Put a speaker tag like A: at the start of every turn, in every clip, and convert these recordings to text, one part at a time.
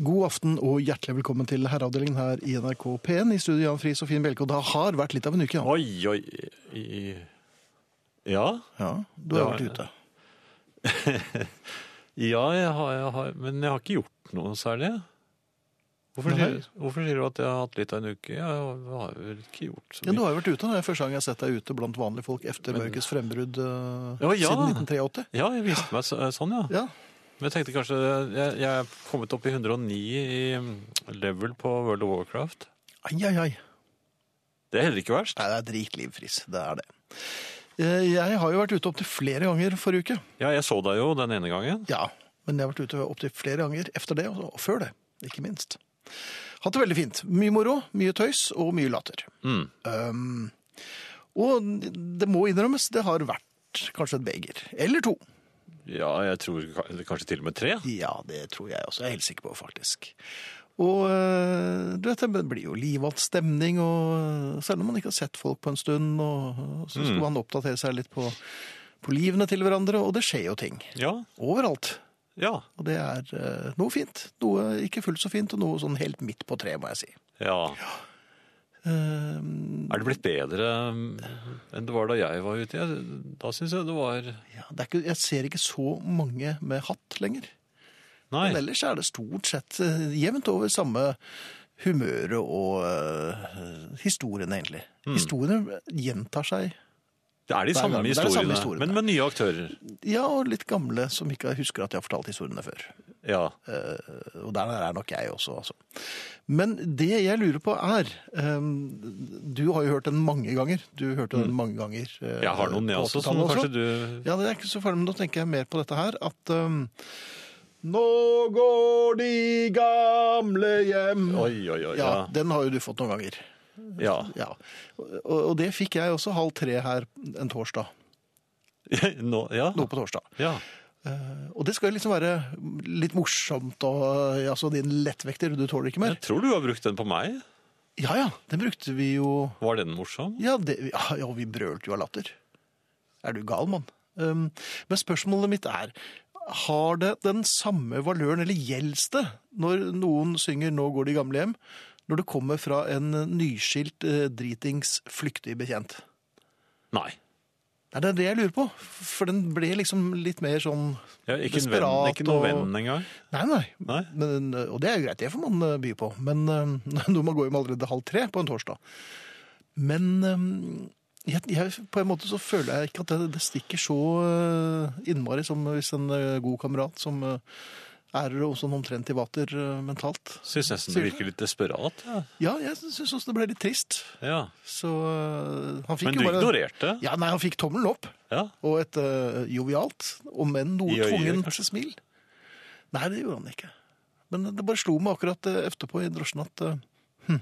A: God aften og hjertelig velkommen til herreavdelingen her i NRK P1. I studio Jan Friis og Finn Bjelke. Og det har vært litt av en uke, ja.
B: Oi, oi i- Ja.
A: ja du har
B: Ja,
A: vært
B: ja.
A: ute.
B: Ja, jeg har, jeg har, men jeg har ikke gjort noe særlig. Hvorfor
A: Nei.
B: sier, hvorfor sier du at jeg har hatt litt av en uke? Jeg har vel ikke gjort så
A: Ja, du
B: mye.
A: har jo vært ute. Det er første gang jeg har sett deg ute blant vanlige folk etter mørkets frembrudd eh,
B: Ja, ja.
A: siden 1983.
B: Ja, jeg viste meg så, sånn, ja.
A: Ja,
B: Men jeg tenkte kanskje Jeg, jeg er kommet opp i 109 i mm, level på World of Warcraft.
A: ai, ai, ai.
B: Det er heller ikke verst.
A: Nei, det er dritliv, Friis. Det er det. Eh, Jeg har jo vært ute opptil flere ganger forrige uke.
B: Ja, jeg så deg jo den ene gangen.
A: Ja, men jeg har vært ute opptil flere ganger efter det, og og før det, ikke minst. Hatt det veldig fint. Mye moro, mye tøys og mye latter.
B: Mm.
A: Um, og det må innrømmes, det har vært kanskje et beger. Eller to.
B: Ja, jeg tror ka- kanskje til og med tre.
A: Ja, det tror jeg også. Jeg er helt sikker på, faktisk. Og øh, du vet, det blir jo livat stemning, og øh, selv om man ikke har sett folk på en stund, og øh, så skal man oppdatere seg litt på, på livene til hverandre, og det skjer jo ting.
B: Ja.
A: Overalt.
B: Ja.
A: Og det er øh, noe fint, noe ikke fullt så fint, og noe sånn helt midt på treet, må jeg si.
B: ja.
A: Ehm,
B: Er det blitt bedre um, enn det var da jeg var ute? Jeg- Da syns jeg det var
A: ja, det er ikke, jeg ser ikke så mange med hatt lenger.
B: Nei.
A: Men ellers er det stort sett eh, jevnt over samme humøret og eh, historiene, egentlig.
B: Mm.
A: Historiene gjentar seg.
B: Det er de
A: Nei,
B: samme
A: nei, men det er de samme
B: historiene,
A: historiene.
B: men med nye aktører.
A: Ja, og litt gamle som ikke husker at de har fortalt historiene før.
B: Ja.
A: Eh, Og der er nok jeg også, altså. Men det jeg lurer på er eh, Du har jo hørt den mange ganger. Du hørte den mange ganger. eh,
B: Mm. Jeg har noen, jeg
A: på
B: også, som
A: 80-tallet
B: kanskje du
A: Ja, det er ikke så farlig, men da tenker jeg mer på dette her, at eh, Nå går de gamle hjem.
B: Oi, oi, oi.
A: Ja,
B: Ja.
A: den har jo du fått noen ganger.
B: ja.
A: Ja. Og, og det fikk jeg også halv tre her en torsdag.
B: Nå, ja.
A: Nå på torsdag.
B: ja.
A: Eh, Og det skal jo liksom være litt morsomt og eh, altså din lettvekter, du tåler ikke mer.
B: Jeg tror du har brukt den på meg.
A: Ja ja, den brukte vi jo
B: Var den morsom?
A: Ja, det, ja, ja vi brølte jo av latter. Er du gal, mann? Um, men spørsmålet mitt er har det den samme valøren, eller gjelder det, når noen synger 'Nå går de gamle hjem', når det kommer fra en nyskilt, eh, dritings, flyktig bekjent?
B: Nei.
A: Nei, det er det jeg lurer på. For den ble liksom litt mer sånn
B: Ja, ikke, en venn,
A: Desperat
B: ikke noen
A: og-
B: venn engang.
A: Nei, nei.
B: Nei.
A: Men, og det er jo greit, det får man eh, by på. Men eh, når man går hjem allerede halv tre på en torsdag. Men eh, jeg, jeg, på en måte så føler jeg ikke at det, det stikker så eh, innmari som hvis en eh, god kamerat som eh, er og sånn omtrent i vater eh, mentalt.
B: Syns nesten
A: Sier
B: det
A: du?
B: virker litt desperat. Ja.
A: Ja, jeg syns også det ble litt trist.
B: Ja.
A: Så eh, han fikk
B: Men
A: jo
B: du
A: bare
B: ignorerte.
A: Ja, nei, han fikk tommelen opp.
B: Ja.
A: Og et eh, jovialt, om enn noe
B: I øyet,
A: tvungent
B: kanskje?
A: smil. Nei, det gjorde han ikke. Men det bare slo meg akkurat eh, etterpå i drosjen at eh, hm,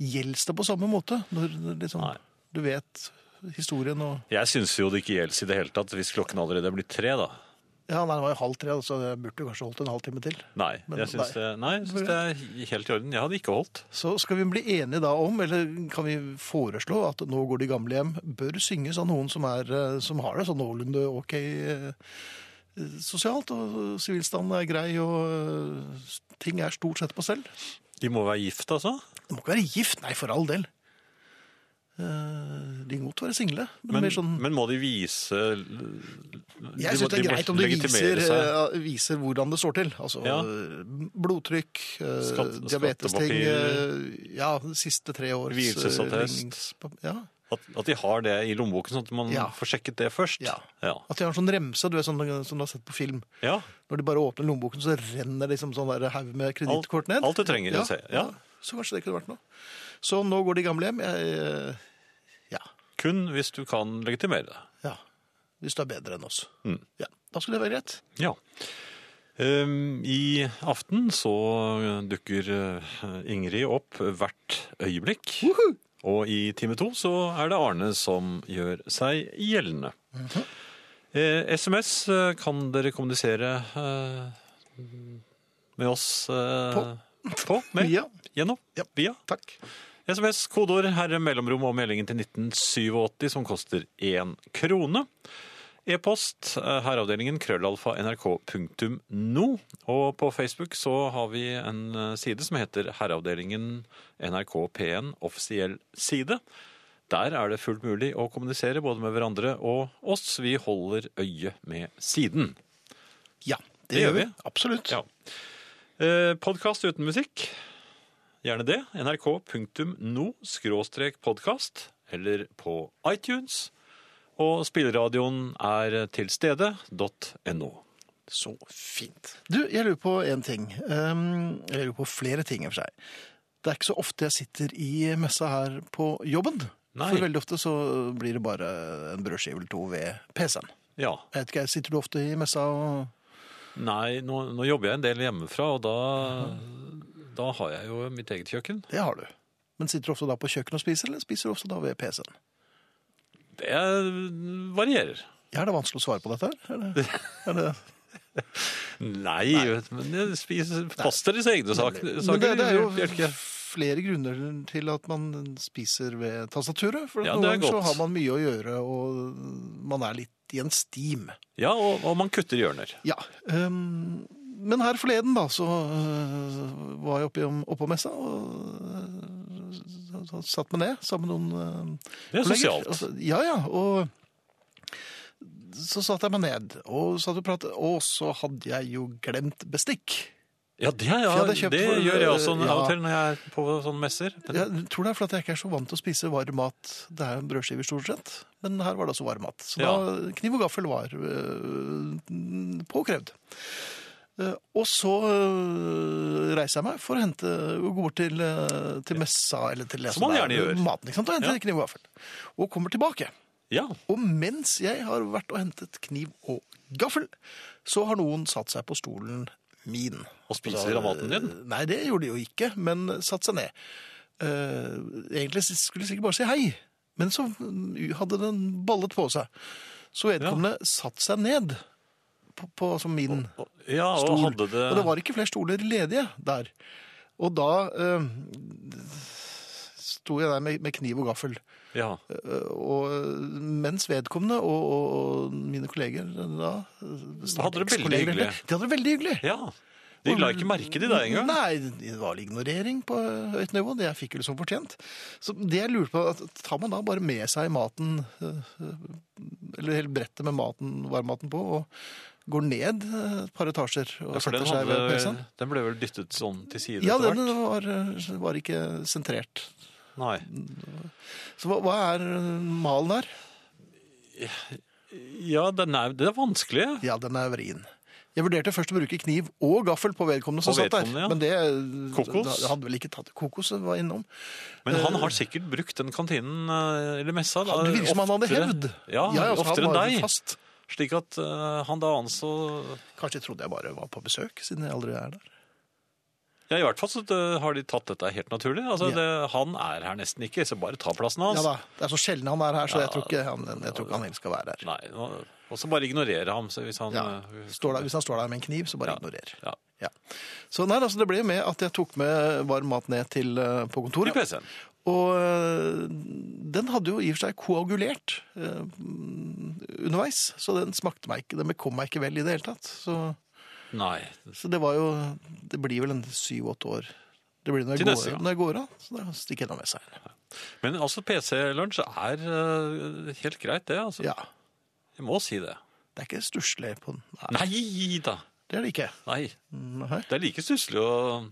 A: gjelder det på samme måte? Når det liksom,
B: Nei.
A: du vet historien og
B: Jeg syns jo det ikke gjelder i det hele tatt, hvis klokken allerede er blitt tre, da.
A: Ja, nei, det var jo halv tre, så jeg burde jo kanskje holdt en halvtime til.
B: Nei,
A: Men
B: jeg syns
A: nei.
B: det, nei, jeg syns det er helt i orden. Jeg hadde ikke holdt.
A: Så skal vi bli enige da om, eller kan vi foreslå at Nå går de gamle hjem bør synges av noen som, er, eh, som har det sånn noenlunde ok eh, sosialt, og sivilstanden er grei, og eh, ting er stort sett på stell?
B: De må være gift, altså?
A: Det må ikke være gift, nei, for all del. Eh, De må godt være single, men,
B: Men,
A: mer sånn
B: men må de vise
A: Jeg syns det er greit om de viser, eh, viser hvordan det står til. Altså
B: Ja.
A: eh, blodtrykk, eh,
B: Skatt-
A: diabetesting
B: skattepapirer.
A: eh, Ja, de siste tre års eh,
B: Vielsesattest.
A: ligningspap- Ja.
B: At, at de har det i lommeboken, sånn at man
A: Ja.
B: får sjekket det først?
A: Ja.
B: Ja.
A: At de har en sånn remse du vet, sånn, som du har sett på film.
B: Ja,
A: Når de bare åpner lommeboken, så renner liksom sånn der haug med
B: Alt,
A: kredittkort ned.
B: alt du trenger å se. Ja.
A: Så kanskje det kunne vært noe. Så nå går de gamle hjem. Jeg, eh, ja.
B: Kun hvis du kan legitimere det.
A: ja. Hvis du er bedre enn oss.
B: Mm.
A: Ja. Da skulle det være greit.
B: Ja. Ehm, I aften så dukker eh, Ingrid opp hvert øyeblikk. Og i time to så er det Arne som gjør seg gjeldende. Eh, SMS eh, kan dere kommunisere eh, med oss eh,
A: På.
B: på med,
A: Ja.
B: gjennom,
A: Ja.
B: via.
A: Takk.
B: SMS, kodeord, herre mellomrom og meldingen til 1987 som koster én krone. E-post eh, herreavdelingen krøllalfa nrk.no. Og på Facebook så har vi en eh, side som heter Herreavdelingen NRK P1 offisiell side. Der er det fullt mulig å kommunisere både med hverandre og oss. Vi holder øye med siden.
A: Ja, det,
B: Det gjør
A: gjør vi.
B: vi.
A: Absolutt.
B: Ja. Eh, Podkast uten musikk. Gjerne det. nrk.no-podkast, eller på iTunes. Og spilleradioen er til stede. .no.
A: Så fint. Du, jeg lurer på en ting. Um, jeg lurer på flere ting, i og for seg. Det er ikke så ofte jeg sitter i messa her på jobben.
B: Nei.
A: For veldig ofte så blir det bare en brødskive eller to ved PC-en.
B: Ja.
A: Jeg vet ikke, jeg Sitter du ofte i messa og
B: Nei, nå, nå jobber jeg en del hjemmefra, og da, da har jeg jo mitt eget kjøkken.
A: Det har du. Men sitter du ofte da på kjøkkenet og spiser, eller spiser du ofte da ved PC-en?
B: Det varierer.
A: Ja, er det vanskelig å svare på dette her? Er det, er det,
B: Nei, men jeg spiser faster i sine egne sak-
A: men
B: saker.
A: det, det er jo
B: Bjelke.
A: flere grunner til at man spiser ved tastaturet. For
B: Ja,
A: noen
B: det er
A: ganger så
B: godt.
A: har man mye å gjøre, og man er litt i en stim.
B: Ja, og, og man kutter hjørner.
A: Ja. øhm, men her forleden, da, så øh, var jeg oppe, i- oppe på messa og øh, så- så satt meg ned sammen med noen øh,
B: Det er
A: kolleger.
B: sosialt.
A: Og så- Ja, ja. Og så satt jeg meg ned og satt og pratet, og så hadde jeg jo glemt bestikk.
B: Ja, det,
A: For
B: har
A: jeg
B: jeg,
A: hadde kjøpt
B: det
A: for-
B: gjør jeg også
A: øh,
B: av og
A: ja.
B: til når jeg er på sånne messer. Men
A: Jeg tror det er fordi jeg ikke er så vant til å spise varm mat. Det er jo brødskiver stort sett, men her var det også varm mat. Så da kniv og gaffel var øh, påkrevd. Eh, Og så øh, reiser jeg meg for å hente og gå bort til, øh, til messa, eller til det
B: Som man
A: er
B: gjerne gjør.
A: maten, ikke sant? og henter
B: Ja.
A: kniv og gaffel. Og kommer tilbake.
B: Ja,
A: Og mens jeg har vært og hentet kniv og gaffel, så har noen satt seg på stolen min.
B: Og spiser av maten din?
A: Eh, Nei, det gjorde de jo ikke, men satt seg ned. Eh, egentlig skulle jeg sikkert bare si hei, men så hadde den ballet på seg. Så vedkommende satt seg ned på, på altså min
B: og, ja, og
A: stol.
B: hadde det,
A: Og det var ikke flere stoler ledige der. Og da eh, sto jeg der med, med kniv og gaffel. Eh,
B: ja.
A: Og mens vedkommende og, og, og mine kolleger da
B: Hadde det veldig
A: ekskolleger,
B: hyggelig.
A: De hadde det veldig hyggelig.
B: ja. De la ikke merke til deg engang.
A: Nei, det var ignorering på høyt nivå. Det jeg fikk jo som fortjent. Så det jeg lurer på, at tar man da bare med seg maten, eh, eller hele brettet med maten, varmmaten på, og går ned eh, et par etasjer og
B: Ja, for den,
A: setter seg
B: hadde,
A: ved PC-en?
B: den ble vel dyttet sånn til side
A: Ja,
B: etter
A: den
B: hvert?
A: var, eh, var ikke sentrert.
B: Nei.
A: Så hva, hva er eh, malen der?
B: Ja, den er, det er vanskelig.
A: Ja, den er vrien. Jeg vurderte først å bruke kniv og gaffel på vedkommende som
B: På
A: satt der.
B: vedkommende, ja.
A: Men det
B: Kokos?
A: det hadde vel ikke tatt Kokos var innom.
B: Men han har sikkert brukt den kantinen eh, eller messa da,
A: Det virker som han hadde
B: oftere.
A: hevd.
B: Ja,
A: altså, han
B: oftere enn
A: var
B: deg.
A: Fast.
B: Slik at eh, han da anså
A: Kanskje trodde jeg bare var på besøk, siden jeg aldri er der.
B: Ja, i hvert fall så eh, har de tatt dette helt naturlig. Altså,
A: Ja.
B: det, han er her nesten ikke, så bare ta plassen hans.
A: Ja da, Det er så sjelden han er her, så
B: Ja.
A: jeg tror ikke han, jeg tror ikke han helst skal være her.
B: Nei, nå- og så bare ignorere ham så hvis han
A: Ja.
B: eh,
A: Står der, hvis han står der med en kniv, så bare
B: Ja.
A: ignorer.
B: Ja.
A: Ja. Så nei, altså, det ble med at jeg tok med varm mat ned til, eh, på
B: Hvor er
A: kontoret.
B: PC-en?
A: Og øh, den hadde jo i og for seg koagulert øh, underveis, så den smakte meg ikke, den kom meg ikke vel i det hele tatt. Så,
B: Nei.
A: så det var jo, det blir vel en syv-åtte år. Det blir når jeg,
B: Til
A: går,
B: neste gang.
A: når jeg går av, så da stikker jeg den med seg.
B: Men altså, PC-lunsj er eh, helt greit, det. altså.
A: Ja,
B: Jeg må si det.
A: det er ikke stusslig på den. Nei,
B: Nei da!
A: det er det ikke.
B: Nei.
A: Nei.
B: Det er like stusslig å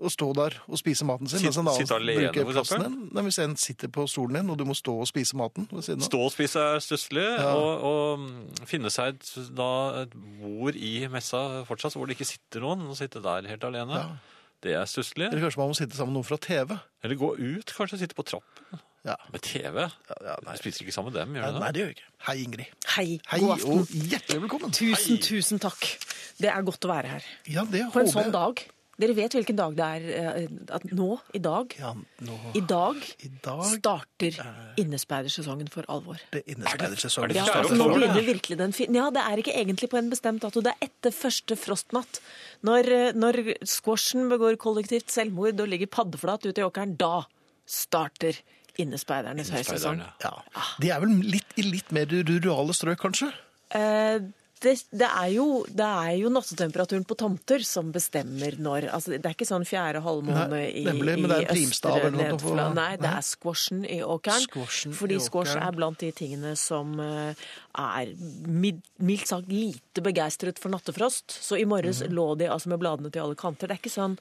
A: Å stå der og spise maten sin,
B: Sitt-
A: mens en annen
B: sitte alene,
A: bruker
B: for
A: plassen
B: eksempel?
A: din. Nei, hvis en sitter på stolen din, og du må stå og spise maten ved siden av.
B: stå og spise er stusslig, og, og mm, finne seg et, da, et bord i messa fortsatt hvor det ikke sitter noen, og sitte der helt alene.
A: Ja.
B: Det er stusslig.
A: Eller kanskje man må sitte sammen med noen fra TV.
B: Eller gå ut, kanskje sitte på trappen.
A: Ja.
B: Med TV.
A: ja, nei.
B: Du spiser ikke sammen med dem, gjør
A: Nei,
B: du det?
A: det gjør jeg ikke. Hei, Ingrid.
C: Hei,
A: Hei, oh,
C: god aften.
A: og hjertelig velkommen.
C: Tusen, tusen takk. Det er godt å være her.
A: Ja, det
C: På
A: håper
C: en sånn
A: jeg.
C: dag. Dere vet hvilken dag det er eh, at nå, i dag,
A: Ja, nå
C: i dag
A: I dag
C: starter innespeidersesongen for alvår.
A: det innespeiler sesongen.
B: er det
C: Ja,
B: fjerde
C: altså, nå
B: oktober, det?
C: begynner virkelig den fi- Ja, det er ikke egentlig på en bestemt dato. Det er etter første frostnatt. Når, eh, når squashen begår kollektivt selvmord og ligger paddeflat ute i åkeren, da starter Innespeidernes høysesong.
B: Speiderne.
A: Ja. De er vel litt, i litt mer rurale strøk, kanskje?
C: Eh, det, det, er jo, det er jo nattetemperaturen på tomter som bestemmer når altså, Det er ikke sånn fjerde halvmåne
A: Nei,
C: i,
A: nemlig, men
C: i
A: det er en primstav
C: østre
A: eller noe på-
C: nedfla. Nei, det
A: Nei.
C: er squashen i åkeren.
A: Squashen i
C: fordi squash
A: åkeren.
C: er blant de tingene som eh, er mid, mildt sagt lite begeistret for nattefrost. Så i morges
A: Mhm.
C: lå de altså med bladene til alle kanter. Det er ikke sånn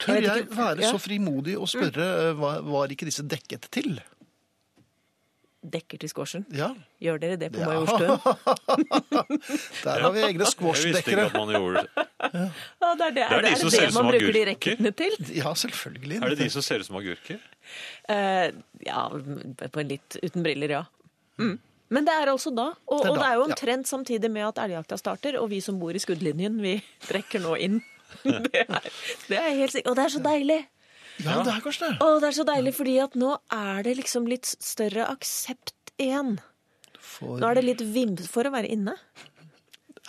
A: Tør
C: Jeg vet
A: jeg
C: ikke-
A: være
C: ja. Mm.
A: så frimodig å spørre eh, hva- var ikke disse dekket til?
C: dekker til squashen.
A: Ja.
C: Gjør dere det på
A: Ja.
C: Majorstuen?
A: Der har vi egne
B: Jeg visste ikke
A: squashdekkere.
B: at man gjorde det.
C: Ja, det er det,
B: Det er de
C: er
B: som
C: det,
B: ser
C: det
B: ut som
C: man bruker de
B: agurker.
C: racketene til.
A: Ja, selvfølgelig.
B: Er det de som ser ut som agurker?
C: Eh, ja, på en litt uten briller, ja. Mm. Men det er altså da. Og,
A: Det er
C: og det
A: da,
C: er jo
A: ja.
C: omtrent samtidig med at elgjakta starter, og vi som bor i skuddlinjen, vi trekker nå inn. Det er, det er helt sikkert. Og det er så deilig!
A: Ja, det er kanskje det.
C: Å, det er så deilig, fordi at nå er det liksom litt større aksept igjen.
A: For
C: Nå er det litt vims for å være inne.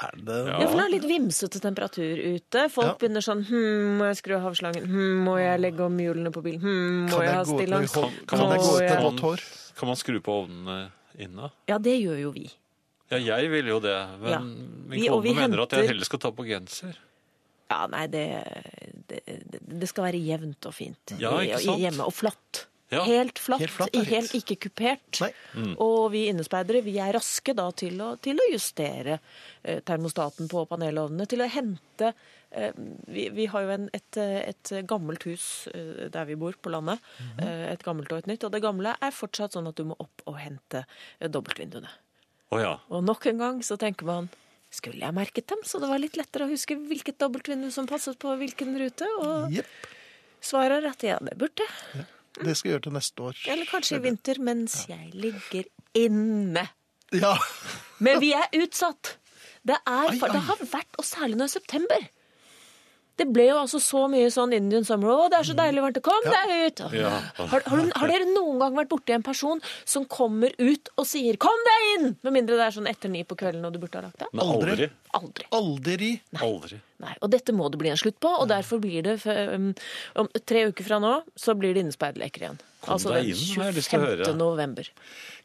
A: er det
C: Ja, for nå er det litt vimsete temperatur ute. Folk
A: Ja.
C: begynner sånn Hm, må jeg skru av havslangen? Hm, må jeg legge om hjulene på bilen? Hm, må
A: Kan
C: jeg ha
A: jeg gå ut med
C: stillongs?
A: hå-
B: Kan
A: kan
B: man
A: jeg gå ut
C: gå
A: med
B: an-
A: vått hår?
B: Kan man skru på ovnene inne?
C: Ja, det gjør jo vi.
B: Ja, jeg ville jo det, men
C: Ja.
B: min
C: Vi- og vi
B: kone mener at jeg
C: henter-
B: heller skal ta på genser.
C: Ja, nei, det, det, det skal være jevnt og fint
B: Ja,
C: i-
B: ikke
C: i-
B: sant?
C: hjemme. Og flatt.
B: Ja.
C: Helt flatt,
A: Helt
C: helt,
A: flatt er fint.
C: ikke kupert.
A: Nei. Mm.
C: Og vi innespeidere vi er raske da til å, til å justere eh, termostaten på panelovnene. Til å hente eh, vi, vi har jo en, et, eh, et gammelt hus eh, der vi bor, på landet.
A: Mhm.
C: eh, Et gammelt og et nytt. Og det gamle er fortsatt sånn at du må opp og hente eh, dobbeltvinduene.
B: Å ja.
C: Og nok en gang så tenker man skulle jeg merket dem, så det var litt lettere å huske hvilket dobbeltvindu som passet på hvilken rute? Og
A: Jepp.
C: svaret er at ja, det burde jeg.
A: Det skal jeg gjøre til neste år.
C: Eller kanskje i vinter, mens jeg ligger inne.
A: Ja.
C: Men vi er utsatt! Det, er,
A: Ai,
C: for, det
A: ai.
C: har vært, og særlig nå i september. Det ble jo altså så mye sånn Indian summer. Å, det er så deilig varmt. Kom deg ut! Å,
B: Ja.
C: Har, har, du, har dere noen gang vært borti en person som kommer ut og sier 'kom deg inn'? Med mindre det er sånn etter ni på kvelden og du burde ha lagt deg.
B: Men aldri.
A: Aldri.
C: Aldri.
A: Aldri.
B: Aldri.
C: Nei, og dette må det bli en slutt på, og derfor blir det eh, um, om tre uker fra nå så blir det innespeiderleker igjen.
B: Kom
C: altså
B: deg
C: den
B: inn, har jeg lyst til å høre.
C: november.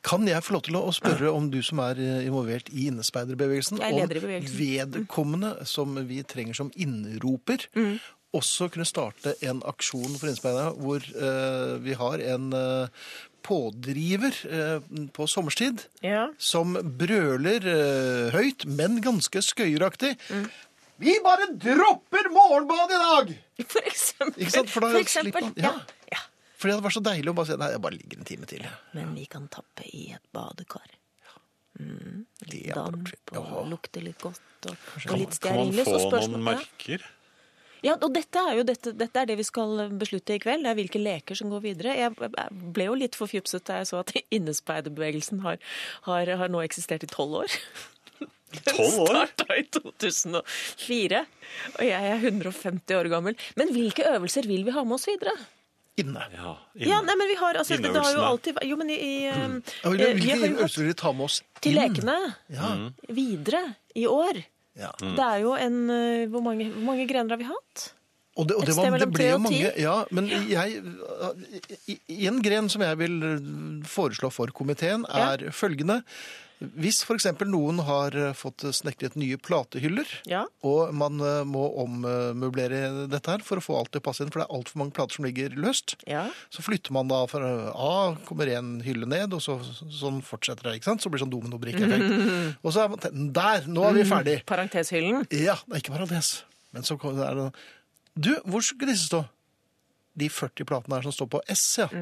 A: Kan jeg få lov til å spørre om du som er eh, involvert i innespeiderbevegelsen,
C: Jeg er
A: om
C: leder i bevegelsen. Mm.
A: vedkommende som vi trenger som innroper, også kunne starte en aksjon for innespeiderne hvor eh, vi har en eh, pådriver eh, på sommerstid
C: Ja.
A: som brøler eh, høyt, men ganske skøyeraktig. Vi bare dropper morgenbadet i dag!
C: For eksempel.
A: Ikke sant, for da
C: For eksempel,
A: slipper man-
C: ja.
A: ja.
C: ja.
A: Fordi det var så deilig å bare si nei, jeg bare ligger en time til.
C: Men vi kan tappe i et badekar. Mm.
A: Det hadde vært
C: Damp
A: fint.
C: og
A: Jaha.
C: lukte litt godt og, og
B: Kan,
C: litt
B: kan man
C: stearinlys.
B: få
C: Og
B: noen
C: spørsmål
B: merker?
C: ja, og dette er jo dette, dette er det vi skal beslutte i kveld. Det er hvilke leker som går videre. Jeg jeg ble jo litt forfjupset da jeg så at innespeiderbevegelsen har, har, har nå eksistert i tolv år.
B: Tolv år?
C: starta i 2004, og jeg er 150 år gammel. Men hvilke øvelser vil vi ha med oss videre?
A: Inne.
B: Ja.
C: Ja, nei, men vi har, altså, det har jo
B: Innøvelsene.
C: alltid vært- Jo, men i, i um,
A: Ja,
C: eh,
A: Hvilke
C: Vi har jo
A: øvelser
C: hatt
A: vil de ta med oss inn?
C: til lekene
A: Ja.
C: Mm. videre i år.
A: ja.
C: Det er jo en eh, Hvor mange, hvor mange grener har vi hatt?
A: Og det, og
C: Et
A: det, var,
C: sted
A: det
C: mellom
A: ble
C: tre
A: jo
C: og
A: mange
C: ti.
A: Ja, men jeg i- i En gren som jeg vil eh, foreslå for komiteen, er følgende. Hvis f.eks. noen har eh, fått snekret nye platehyller,
C: Ja.
A: og man eh, må ommøblere dette her for å få alt til å passe inn, for det er altfor mange plater som ligger løst,
C: Ja.
A: så flytter man da fra A, kommer en hylle ned, og så, sånn fortsetter det. ikke sant? Så blir det sånn dominobrikkeeffekt. Og så er man tenkt, Der! Nå er vi ferdig!
C: Parenteshyllen.
A: Ja, det er ikke parentes. Men så kom- er det sånn, Du, hvor skulle disse stå? De 40 platene her som står på S, ja.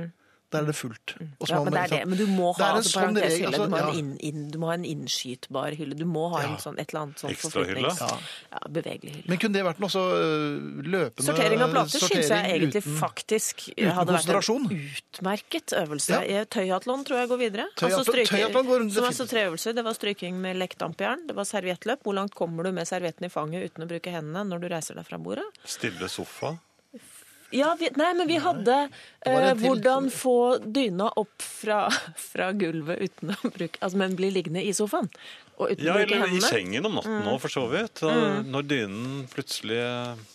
A: Der er det fullt. Og så
C: Mm. Ja,
A: må
C: men, det
A: man- liksom-
C: er det. men du må
A: Det er
C: ha
A: en
C: altså,
A: sånn regel,
C: parenteshylle.
A: altså,
C: Du, må ha en
A: ja.
C: inn, inn, du må ha en innskytbar hylle. Du må ha en sånn, et eller annet sånn
B: Ekstrahylle?
C: forflytnings...
A: Ja.
C: Ja, bevegelig hylle.
A: Men kunne det vært noe så øh, løpende
C: Sortering av plater syns jeg
A: sortering
C: egentlig
A: uten-
C: faktisk
A: uten
C: hadde vært en
A: konsentrasjon.
C: utmerket øvelse.
A: Ja.
C: Tøyatlon tror jeg går videre. Altså
A: Tøyatlon- tøyatlon går rundt,
C: som altså
A: definitivt.
C: tre øvelser. Det var stryking med lekkdampjern, det var serviettløp. Hvor langt kommer du med servietten i fanget uten å bruke hendene når du reiser deg fra bordet?
B: Stille sofa?
C: Ja, vi, nei, men vi hadde
A: var
C: eh,
A: en til.
C: hvordan få dyna opp fra, fra gulvet uten å bruke Altså, men bli liggende i sofaen. og uten
B: Ja,
C: å bruke
B: eller i
C: hendene. Mm.
B: sengen om natten nå, for så vidt. Da, Når dynen plutselig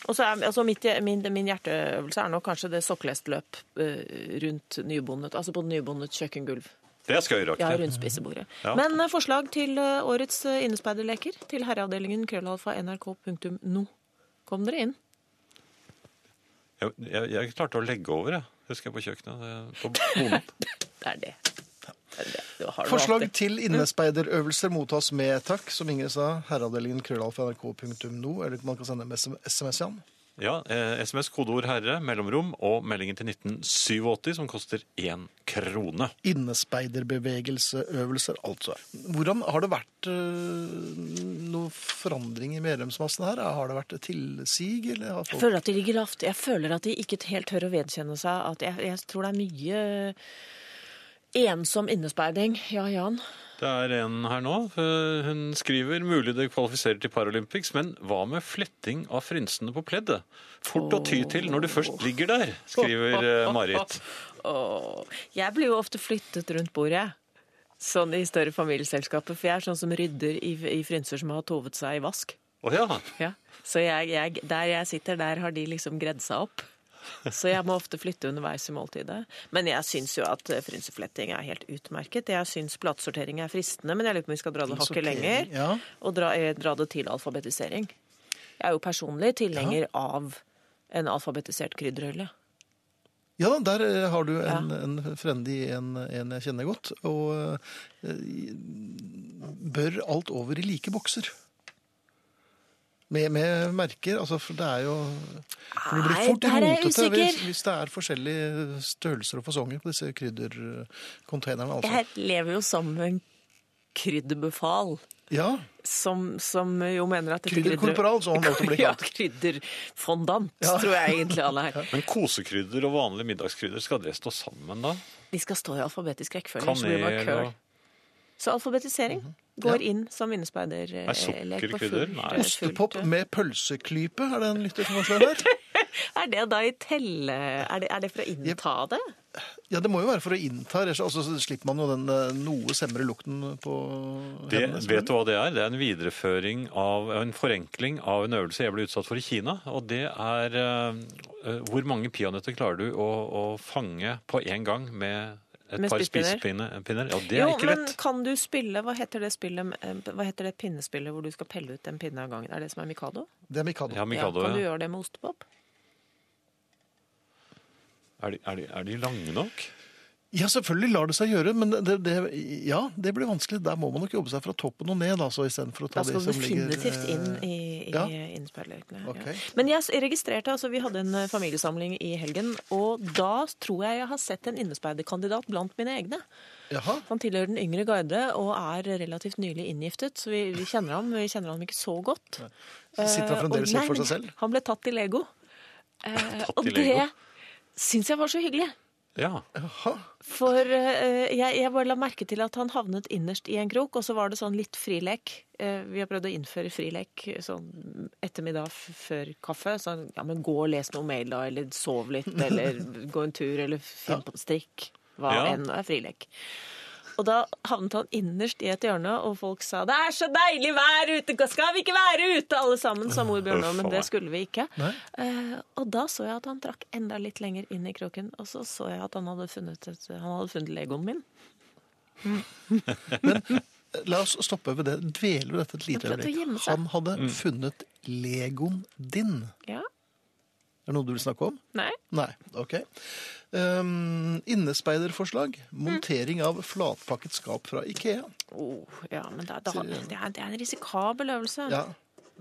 C: Og så er, altså mitt, min, min hjerteøvelse er nok kanskje det sokkelesløp eh, rundt nybondet, altså på nybondet kjøkkengulv.
B: Det er skøyeraktig.
C: Ja, rundt spisebordet.
B: Ja.
C: Men eh, forslag til eh, årets eh, innespeiderleker til herreavdelingen krøllalfa nrk.no. Kom dere inn.
B: Jeg, jeg, jeg klarte å legge over, jeg. Husker jeg på kjøkkenet. det- På bonen.
C: Det er det. Det er det. Det har du
A: Forslag
C: alltid.
A: til innespeiderøvelser mottas med takk, som Ingrid sa. Herreavdelingen krøllalfa.nrk.no, eller man kan sende med SMS igjen.
B: Ja, eh, SMS, kodeord 'herre', mellomrom og meldingen til 1987 som koster én krone.
A: Innespeiderbevegelseøvelser, altså. Hvordan har det vært øh, noen forandring i medlemsmassen her? Har det vært tilsig, eller har
C: Jeg
A: folk
C: føler at de ligger lavt. Jeg føler at de ikke helt tør å vedkjenne seg at jeg, jeg tror det er mye ensom innespeiding. Ja, Jan.
B: Det er en her nå. eh, Hun skriver 'mulig det kvalifiserer til Paralympics', men hva med fletting av frynsene på pleddet? Fort å ty til når du først ligger der, skriver eh, Marit.
C: Åh. Jeg blir jo ofte flyttet rundt bordet. Sånn i større familieselskaper. For jeg er sånn som rydder i, i frynser som har tovet seg i vask.
B: Å ja.
C: Ja. Så jeg, jeg, der jeg sitter, der har de liksom gredd seg opp. Så jeg må ofte flytte underveis i måltidet. Men jeg syns jo at eh, frynsefletting er helt utmerket. Jeg syns platesortering er fristende, men jeg lurer på om vi skal dra det hakket
A: Sortering,
C: lenger.
A: ja.
C: Og dra, eh, dra det til alfabetisering. Jeg er jo personlig tilhenger av en alfabetisert krydderhylle.
A: Ja da, der eh, har du en, en frende i en, en jeg kjenner godt. Og eh, bør alt over i like bokser. Med, med merker, altså for det er jo for Det blir
C: Nei,
A: fort
C: der er jeg
A: rotete hvis,
C: usikker.
A: hvis det er forskjellige størrelser og fasonger på disse kryddercontainerne. Altså.
C: Jeg lever jo som en krydderbefal,
A: Ja,
C: som, som jo mener at dette
A: Krydderkorporal, så han måtte bli
C: Ja,
A: kalt.
C: krydderfondant, tror jeg egentlig alle er.
B: Men kosekrydder og vanlige middagskrydder, skal det stå sammen da?
C: De skal stå i alfabetisk rekkefølge. ellers blir det bare
B: Kanel og Mhm.
C: køl. Så alfabetisering går inn som innespeider. eh,
B: Er sukker
C: lek på
B: krydder?
C: fullt,
B: Nei.
C: eh, fullt,
A: Ostepopp
C: eh.
A: med pølseklype, er det en lytter som foreslår her?
C: Er det da i telle... Er det, er det for å innta det?
A: Ja, det må jo være for å innta, ellers altså, så slipper man jo den eh, noe semre lukten på
B: Det,
A: hendene.
B: vet du hva det er? Det er en videreføring av en forenkling av en øvelse jeg ble utsatt for i Kina. Og det er eh, eh, hvor mange peanøtter klarer du å, å fange på én gang med et
C: Med
B: par
C: spisepinner?
B: spisepinner? Ja, det er
C: Jo,
B: ikke
C: men
B: lett.
C: kan du spille Hva heter det spillet eh, Hva heter det pinnespillet hvor du skal pelle ut en pinne av gangen? Er det som er Mikado?
A: Det er Mikado.
B: Ja, Mikado,
C: ja, kan du
B: ja.
C: gjøre det med ostepop?
B: Er, de, er, de, er de lange nok?
A: Ja, selvfølgelig lar det seg gjøre, men det, det, ja, det blir vanskelig. Der må man nok jobbe seg fra toppen og ned, altså, istedenfor å ta
C: Da skal
A: de
C: du
A: som ligger
C: definitivt
A: eh,
C: inn i, i
A: ja.
C: innspillerløkene,
A: Ok.
C: Ja. Men jeg s- registrerte, altså vi hadde en eh, familiesamling i helgen, og da tror jeg jeg har sett en innespeiderkandidat blant mine egne.
A: Jaha.
C: Han tilhører den yngre garde og er relativt nylig inngiftet, så vi, vi kjenner ham, men vi kjenner ham ikke så godt.
A: Sitter han
C: Eh, og-
A: fremdeles litt
C: nei,
A: for
C: men
A: seg selv?
C: Han ble tatt i Lego. Eh,
B: Tatt
C: og
B: i Lego?
C: det syns jeg var så hyggelig.
B: Ja.
A: Jaha.
C: For eh, jeg, jeg bare la merke til at han havnet innerst i en krok, og så var det sånn litt frilek. Eh, vi har prøvd å innføre frilek sånn ettermiddag f- før kaffe. Sånn, ja, men gå og les noe mail da, eller sov litt, eller gå en tur, eller finn på strikk. Hva
B: Ja.
C: enn er frilek. Og da havnet han innerst i et hjørne, og folk sa 'det er så deilig vær ute', skal vi ikke være ute alle sammen, sa mor Bjørnov, men det skulle vi ikke. Eh, og da så jeg at han trakk enda litt lenger inn i kroken, og så så jeg at han hadde funnet, et, han hadde funnet legoen min.
A: La oss stoppe ved det. Dveler ved dette et lite
C: Han prøvde å
A: øyeblikk.
C: gjemme seg.
A: Han hadde funnet legoen din.
C: Ja,
A: Er det noe du vil snakke om?
C: nei.
A: Nei, ok. Um, innespeiderforslag.
C: Mm.
A: Montering av flatpakket skap fra Ikea.
C: Oh, ja, men da, da, det, er, det er en risikabel øvelse.
A: Ja.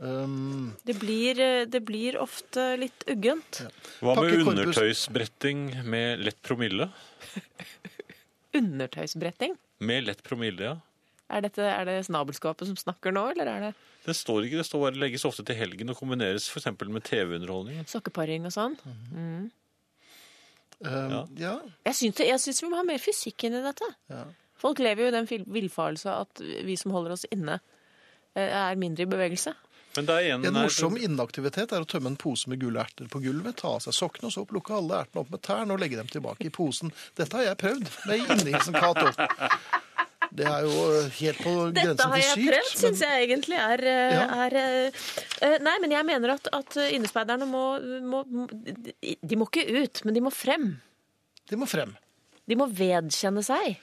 A: Um,
C: Det, blir, eh, det blir ofte litt uggent.
B: Hva med
A: Pakke korpus-
B: undertøysbretting med lett promille?
C: Undertøysbretting.
B: Med lett promille, ja.
C: Er, dette, er det snabelskapet som snakker nå, eller er det
B: Det står ikke, det står bare legges ofte til helgen og kombineres f.eks. med TV-underholdning.
C: sokkeparing og sånn?
A: um,
B: Ja.
A: ja.
C: Jeg syns, det- jeg syns vi må ha mer fysikk inn i dette.
A: Ja.
C: Folk lever jo i den fil- villfarelse at vi som holder oss inne, eh, er mindre i bevegelse.
B: Men Mm, det er en,
A: En
B: her-
A: morsom inaktivitet er å tømme en pose med gule erter på gulvet, ta av seg sokkene og så plukke alle ertene opp med tærne og legge dem tilbake i posen. Dette har jeg prøvd med innhilsen Cato. Det er jo eh, helt på
C: Dette
A: grensen
C: har
A: til
C: jeg
A: sykt.
C: prøvd, syns jeg egentlig er, eh,
A: Ja.
C: er eh, eh, Nei, men jeg mener at, at innespeiderne må, må de- De må ikke ut, men de må frem.
A: Men de må frem.
C: De må vedkjenne seg.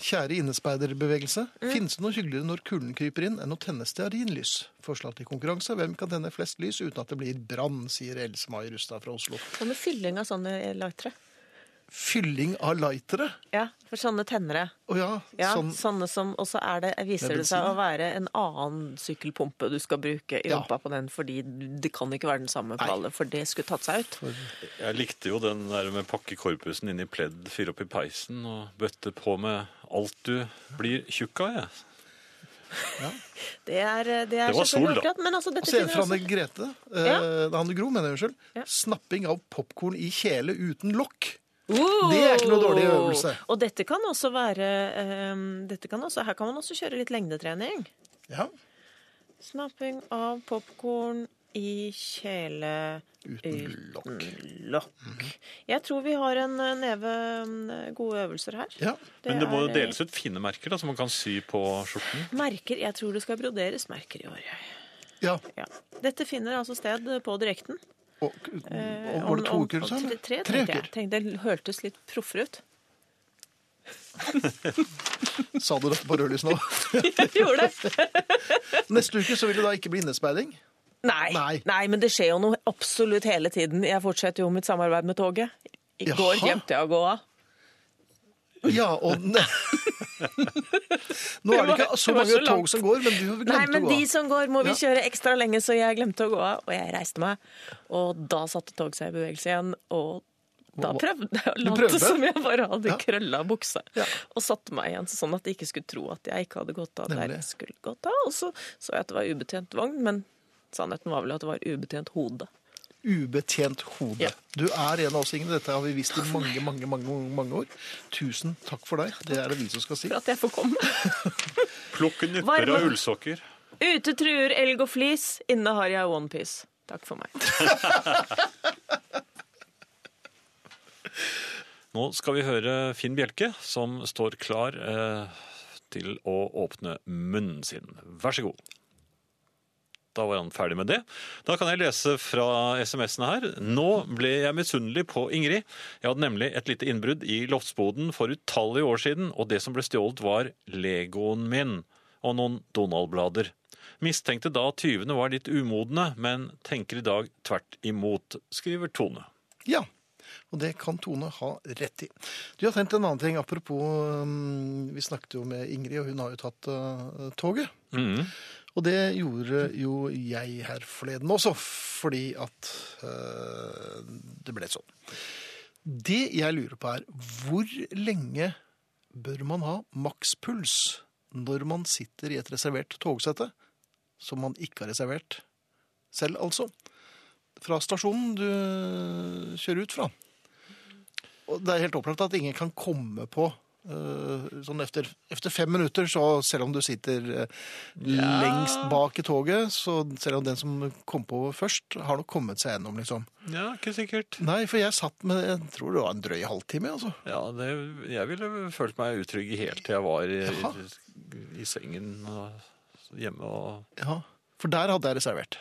A: Kjære innespeiderbevegelse,
C: Mm.
A: finnes det noe hyggeligere når kulden kryper inn enn å tenne stearinlys? Forslag til konkurranse. Hvem kan tenne flest lys uten at det blir brann, sier Else Mai Rustad fra Oslo.
C: Hva med fylling av sånne lightere?
A: Fylling av lightere.
C: Ja, for sånne tennere.
A: Å ja,
C: Ja,
A: sånn
C: Sånne som også er det, viser
A: Med
C: det seg
A: bensin.
C: å være en annen sykkelpumpe du skal bruke i
A: Ja.
C: rumpa på den, fordi det kan ikke være den samme på alle, for det skulle tatt seg ut.
B: Jeg likte jo den der med pakke korpusen inn i pledd, fyre opp i peisen og bøtte på med alt du blir tjukk av, jeg.
C: Det er, det er
B: Det var
C: selvfølgelig
B: sol, da.
C: akkurat, Men altså, dette
A: Se
C: finner
A: fra
C: også...
A: Anne Grete, eh, Anne Gro, mener jeg, unnskyld.
C: Ja.
A: Snapping av popkorn i kjele uten lokk.
C: Oh!
A: Det er ikke noe dårlig øvelse.
C: Og dette kan også være ehm, dette kan også, Her kan man også kjøre litt lengdetrening.
A: Ja,
C: Snapping av popkorn i kjele Eh.
A: uten lokk.
C: lokk. Jeg tror vi har en eh, neve mm, gode øvelser her.
A: Ja,
B: Men det må
C: er, eh,
B: deles ut fine merker da, som man kan sy på skjorten.
C: Merker, Jeg tror det skal broderes merker i år.
A: ja.
C: Ja. Dette finner altså sted på direkten.
A: Og, og, var det to
C: Eh, Om- om-
A: uker, sa
C: tre-
A: du?
C: Tre, tenkte jeg. Tenkte det hørtes litt proffere ut.
A: Sa du dette på rødlys nå?
C: Gjorde det?
A: Neste uke så vil det da ikke bli innespeiding.
C: Nei.
A: Nei.
C: Nei. men det skjer jo noe absolutt hele tiden. Jeg fortsetter jo mitt samarbeid med toget. I
A: Jaha.
C: går glemte jeg å gå av.
A: Ja, og ne- Nå er det ikke så
C: Det var
A: mange
C: så langt.
A: tog som går, men du
C: Nei,
A: glemte
C: men
A: å gå.
C: de
A: av.
C: som går, må vi
A: Ja.
C: kjøre ekstra lenge, så jeg glemte å gå av. Og jeg reiste meg, og da satte toget seg i bevegelse igjen. og da
A: Hva-
C: prøvde jeg å
A: prøvde?
C: late som jeg bare hadde
A: Ja.
C: krølla buksa.
A: Ja.
C: Og satte meg igjen sånn at de ikke skulle tro at jeg ikke hadde gått av der
A: Nemlig.
C: jeg skulle gått av. Og så så jeg at det var ubetjent vogn, men sannheten var vel at det var ubetjent hode.
A: Ubetjent
C: Ja.
A: hode. Du er en av oss, Ingrid. Dette har vi visst i mange, mange, mange, mange år. Tusen takk for deg. Det er det vi som skal si.
C: For at jeg får komme.
B: Plukke nupper
C: Varme.
B: av ullsokker.
C: Ute truer elg og flis, inne har jeg onepiece. Takk for meg.
B: Nå skal vi høre Finn Bjelke, som står klar eh, til å åpne munnen sin. Vær så god. Da var han ferdig med det. Da kan jeg lese fra SMS-ene her. Nå ble jeg misunnelig på Ingrid. Jeg hadde nemlig et lite innbrudd i loftsboden for utallige år siden, og det som ble stjålet var Legoen min og noen Donald-blader. Mistenkte da tyvene var litt umodne, men tenker i dag tvert imot, skriver Tone.
A: Ja, og det kan Tone ha rett i. Du har tenkt en annen ting. Apropos, um, vi snakket jo med Ingrid, og hun har jo tatt uh, toget.
B: Mhm.
A: Og det gjorde jo jeg her forleden også, fordi at øh, det ble sånn. Det jeg lurer på er, hvor lenge bør man ha makspuls når man sitter i et reservert togsette, som man ikke har reservert selv altså, fra stasjonen du kjører ut fra? Og det er helt opplagt at ingen kan komme på øh, sånn efter, efter fem minutter, så selv om du sitter øh, lengst bak i toget, så selv om den som kom på først, har nok kommet seg gjennom, liksom.
B: Ja, ikke sikkert.
A: Nei, for jeg satt med, jeg tror det var en drøy halvtime, altså.
B: Ja, det, jeg ville følt meg utrygg helt til jeg var i,
A: Jaha.
B: i, i sengen og hjemme og
A: Ja, for der hadde jeg reservert.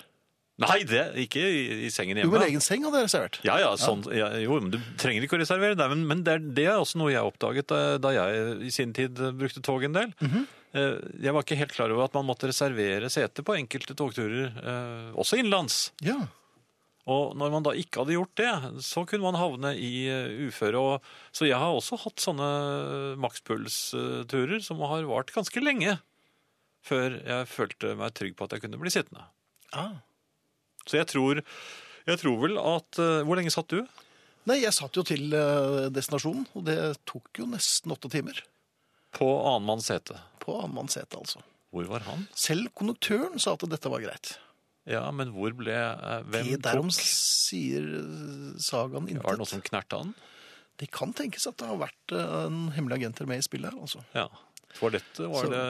B: Nei, det, ikke i, i sengen
A: Jo,
B: hjemme.
A: min egen seng hadde jeg reservert.
B: ja, ja, sånn, ja, jo, men du trenger ikke å reservere deg, men, men det, er, det er også noe jeg oppdaget da, da jeg i sin tid brukte tog en del. Eh, Jeg var ikke helt klar over at man måtte reservere sete på enkelte togturer, eh, også innenlands.
A: Ja,
B: Og når man da ikke hadde gjort det, så kunne man havne i eh, uføre. Og, så jeg har også hatt sånne eh, makspulsturer som har vart ganske lenge. Før jeg følte meg trygg på at jeg kunne bli sittende.
A: Ah.
B: Så jeg tror, jeg tror vel at eh, Hvor lenge satt du?
A: Nei, jeg satt jo til eh, destinasjonen, og det tok jo nesten åtte timer.
B: På annenmanns sete.
A: På annenmanns sete, altså.
B: Hvor var han?
A: Selv konduktøren sa at dette var greit.
B: Ja, men hvor ble eh, Hvem
A: Det derom
B: tok?
A: sier eh, sagaen
B: Var det noe
A: intet.
B: som knerta han?
A: Det kan tenkes at det har vært eh, en hemmelig agenter med i spillet her, altså.
B: Ja. Toalettet, var
A: Så-
B: det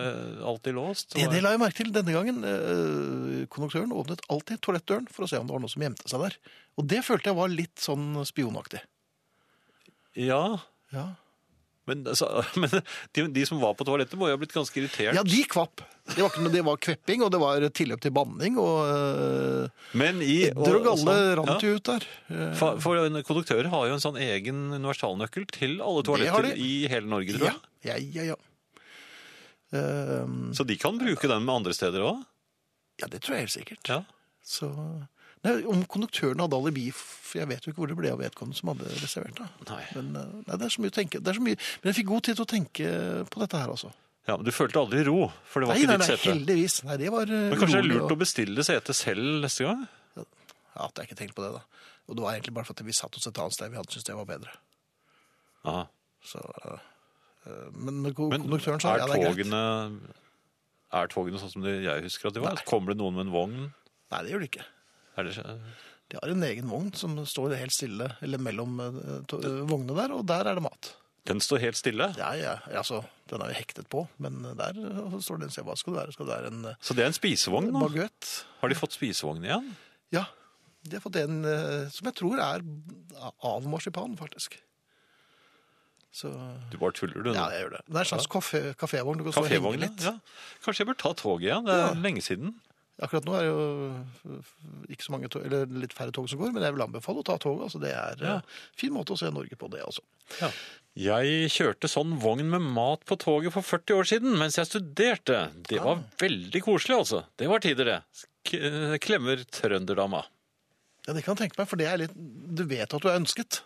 B: alltid låst?
A: Det, det la jeg merke til denne gangen. Eh, Konduktøren åpnet alltid toalettdøren for å se om det var noe som gjemte seg der. Og det følte jeg var litt sånn spionaktig.
B: Ja,
A: Ja.
B: Men, altså, men de, de som var på toalettet, må jo ha blitt ganske irritert.
A: Ja, de kvapp. Det var, ikke, noe- det var kvepping, og det var tilløp til banning, og øh,
B: Men i
A: edder og galle
B: også-
A: rant
B: sånn. ja,
A: jo ut der. Eh,
B: For, for en- konduktører har jo en sånn egen universalnøkkel til alle
A: har
B: toaletter
A: de.
B: i hele Norge, tror
A: Ja,
B: jeg.
A: ja, ja. ja. Ehm,
B: Så de kan bruke den andre steder òg.
A: ja, det tror jeg helt sikkert.
B: Ja.
A: Så, nei, om konduktøren hadde alibi, for jeg vet jo ikke hvor det ble av vedkommende som hadde reservert. Da.
B: Nei.
A: Men, eh, nei, det er så mye å tenke. Det er så mye, men jeg fikk god tid til å tenke på dette her, altså.
B: Ja, men Du følte aldri ro, for det var
A: Nei,
B: ikke
A: nei,
B: ditt
A: nei,
B: sete.
A: heldigvis. Nei, det var eh,
B: Men Kanskje det er
A: rolig
B: lurt
A: og-
B: å bestille sete selv neste gang?
A: Ja, at jeg ikke tenkte på det, da. Og det var egentlig bare for at vi satt oss et annet sted vi hadde syntes det var bedre.
B: Ja.
A: Så, eh, men når
B: Men
A: konduktøren sa
B: er
A: ja, det er greit.
B: togene, er togene sånn som det jeg husker at de var? Kommer det noen med en vogn?
A: Nei, det gjør det ikke.
B: Er det,
A: De har en egen vogn som står helt stille eller mellom eh, to- eh, vognene der, og der er det mat.
B: den står helt stille?
A: Ja, ja, altså, Den er jo hektet på, men der eh, står det en se hva skal det være. Skal det være en eh,
B: Så det er en spisevogn nå?
A: baguett?
B: Har de fått spisevogn igjen?
A: Ja. De har fått en eh, som jeg tror er av marsipan, faktisk. Så
B: Du bare tuller, du. nå.
A: Ja, jeg gjør det. Det er en slags kafé- kafévogn. Du kan stå og henge
B: Kafévogn,
A: litt.
B: ja. Kanskje jeg bør ta toget igjen? Det er lenge siden.
A: Akkurat nå er det jo ikke så mange tog, eller litt færre tog som går, men jeg vil anbefale å ta toget. Altså, det er
B: Ja.
A: en fin måte å se Norge på, det altså.
B: Jeg kjørte sånn vogn med mat på toget for 40 år siden mens jeg studerte. Det var veldig koselig, altså. Det var tider, det. K eh, klemmer trønderdama.
A: Ja, det kan jeg tenke meg, for det er litt Du vet at du er ønsket.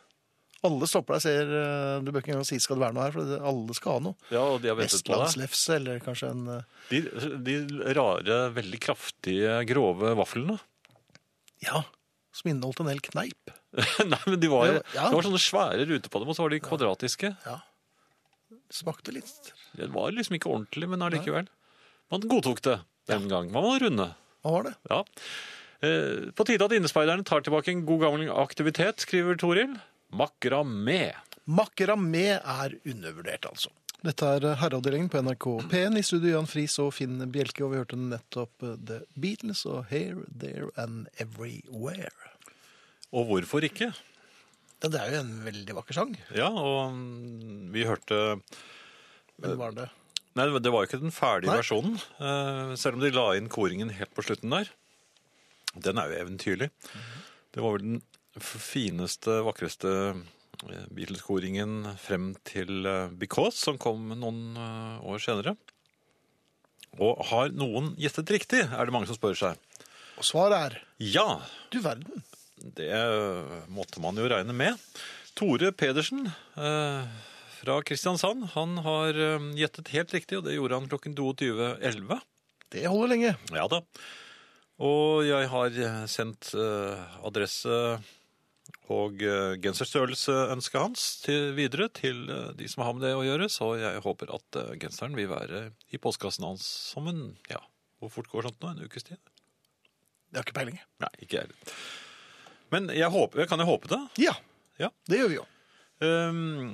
A: Alle stopper deg og ser eh, Du bør ikke engang si 'skal det være noe her', for det- alle skal ha noe.
B: Ja, og de har ventet på deg.
A: Vestlandslefse, eller kanskje en eh,
B: De, de rare, veldig kraftige, grove vaflene.
A: Ja, som inneholdt en hel kneip.
B: Nei, men de var, jo-
A: Ja.
B: Det var sånne svære ruter på dem, og så var de kvadratiske.
A: Ja. Smakte litt
B: Det var liksom ikke ordentlig, men allikevel. Man godtok det den gang. Man var runde.
A: Hva var det?
B: Ja. Eh, På tide at innespeiderne tar tilbake en god gammel aktivitet, skriver Toril. Makramé.
A: Makramé er undervurdert, altså. Dette er herreavdelingen på NRK P1 i studio Jan Friis og Finn Bjelke, og vi hørte nettopp eh, The Beatles og Here, There and Everywhere.
B: Og hvorfor ikke?
A: Ja, det er jo en veldig vakker sang.
B: Ja, og mm, vi hørte
A: Men var det
B: Nei, det var jo ikke den ferdige
A: Nei.
B: versjonen. eh, Selv om de la inn koringen helt på slutten der. Den er jo eventyrlig. Det var vel den f- fineste, vakreste eh, Beatles-koringen frem til eh, Because, som kom noen eh, år senere. Og har noen gjettet riktig, er det mange som spør seg.
A: Og svaret er
B: Ja,
A: Du verden.
B: det måtte man jo regne med. Tore Pedersen eh, fra Kristiansand han har eh, gjettet helt riktig, og det gjorde han klokken 22.11.
A: Det holder lenge.
B: Ja da. Og jeg har eh, sendt eh, adresse og eh, genserstørrelseønsket hans til, videre til eh, de som har med det å gjøre, så jeg håper at eh, genseren vil være i postkassen hans som en Ja, hvor fort går sånt nå? En ukes tid?
A: Det har ikke peiling.
B: Nei, ikke jeg heller. Men jeg, håper, jeg kan jo håpe det.
A: Ja.
B: Ja.
A: Det gjør vi jo.
B: Ehm,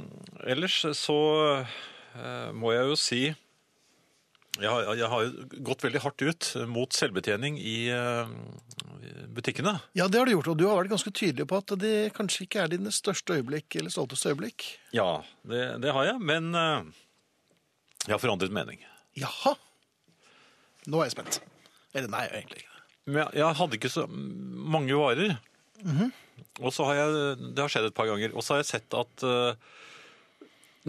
B: ellers så eh, må jeg jo si jeg har, jeg har jo gått veldig hardt ut mot selvbetjening i eh, butikkene.
A: Ja, det har du gjort, og du har vært ganske tydelig på at det kanskje ikke er dine største øyeblikk eller stolteste øyeblikk.
B: Ja, det, det har jeg, men eh, jeg har forandret mening.
A: Jaha. Nå er jeg spent. Eller nei, egentlig ikke.
B: Men jeg, jeg hadde ikke så mange varer.
A: Mhm.
B: Og så har jeg Det har skjedd et par ganger. Og så har jeg sett at eh,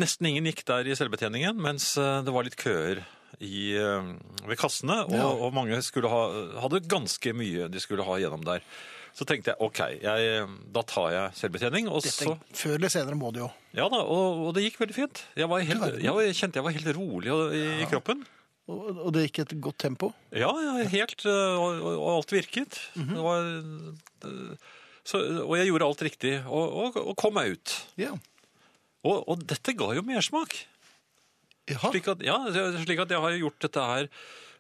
B: nesten ingen gikk der i selvbetjeningen, mens eh, det var litt køer i, eh, ved kassene. Og,
A: Ja.
B: og mange skulle ha, hadde ganske mye de skulle ha gjennom der. Så tenkte jeg OK, jeg, da tar jeg selvbetjening. Og så
A: Dette, før eller senere må det jo.
B: Ja da, og, og det gikk veldig fint. Jeg, var helt,
A: verden.
B: jeg, var- jeg kjente jeg var helt rolig og- i, i kroppen.
A: Og, og det gikk i et godt tempo.
B: Ja, ja helt. øh, Og, og- og alt virket.
A: Mhm.
B: Det var, øh, så, og jeg gjorde alt riktig, og, og, og kom meg ut.
A: Ja.
B: Og, og dette ga jo mersmak.
A: Jaha.
B: Slik at, ja, slik at jeg har gjort dette her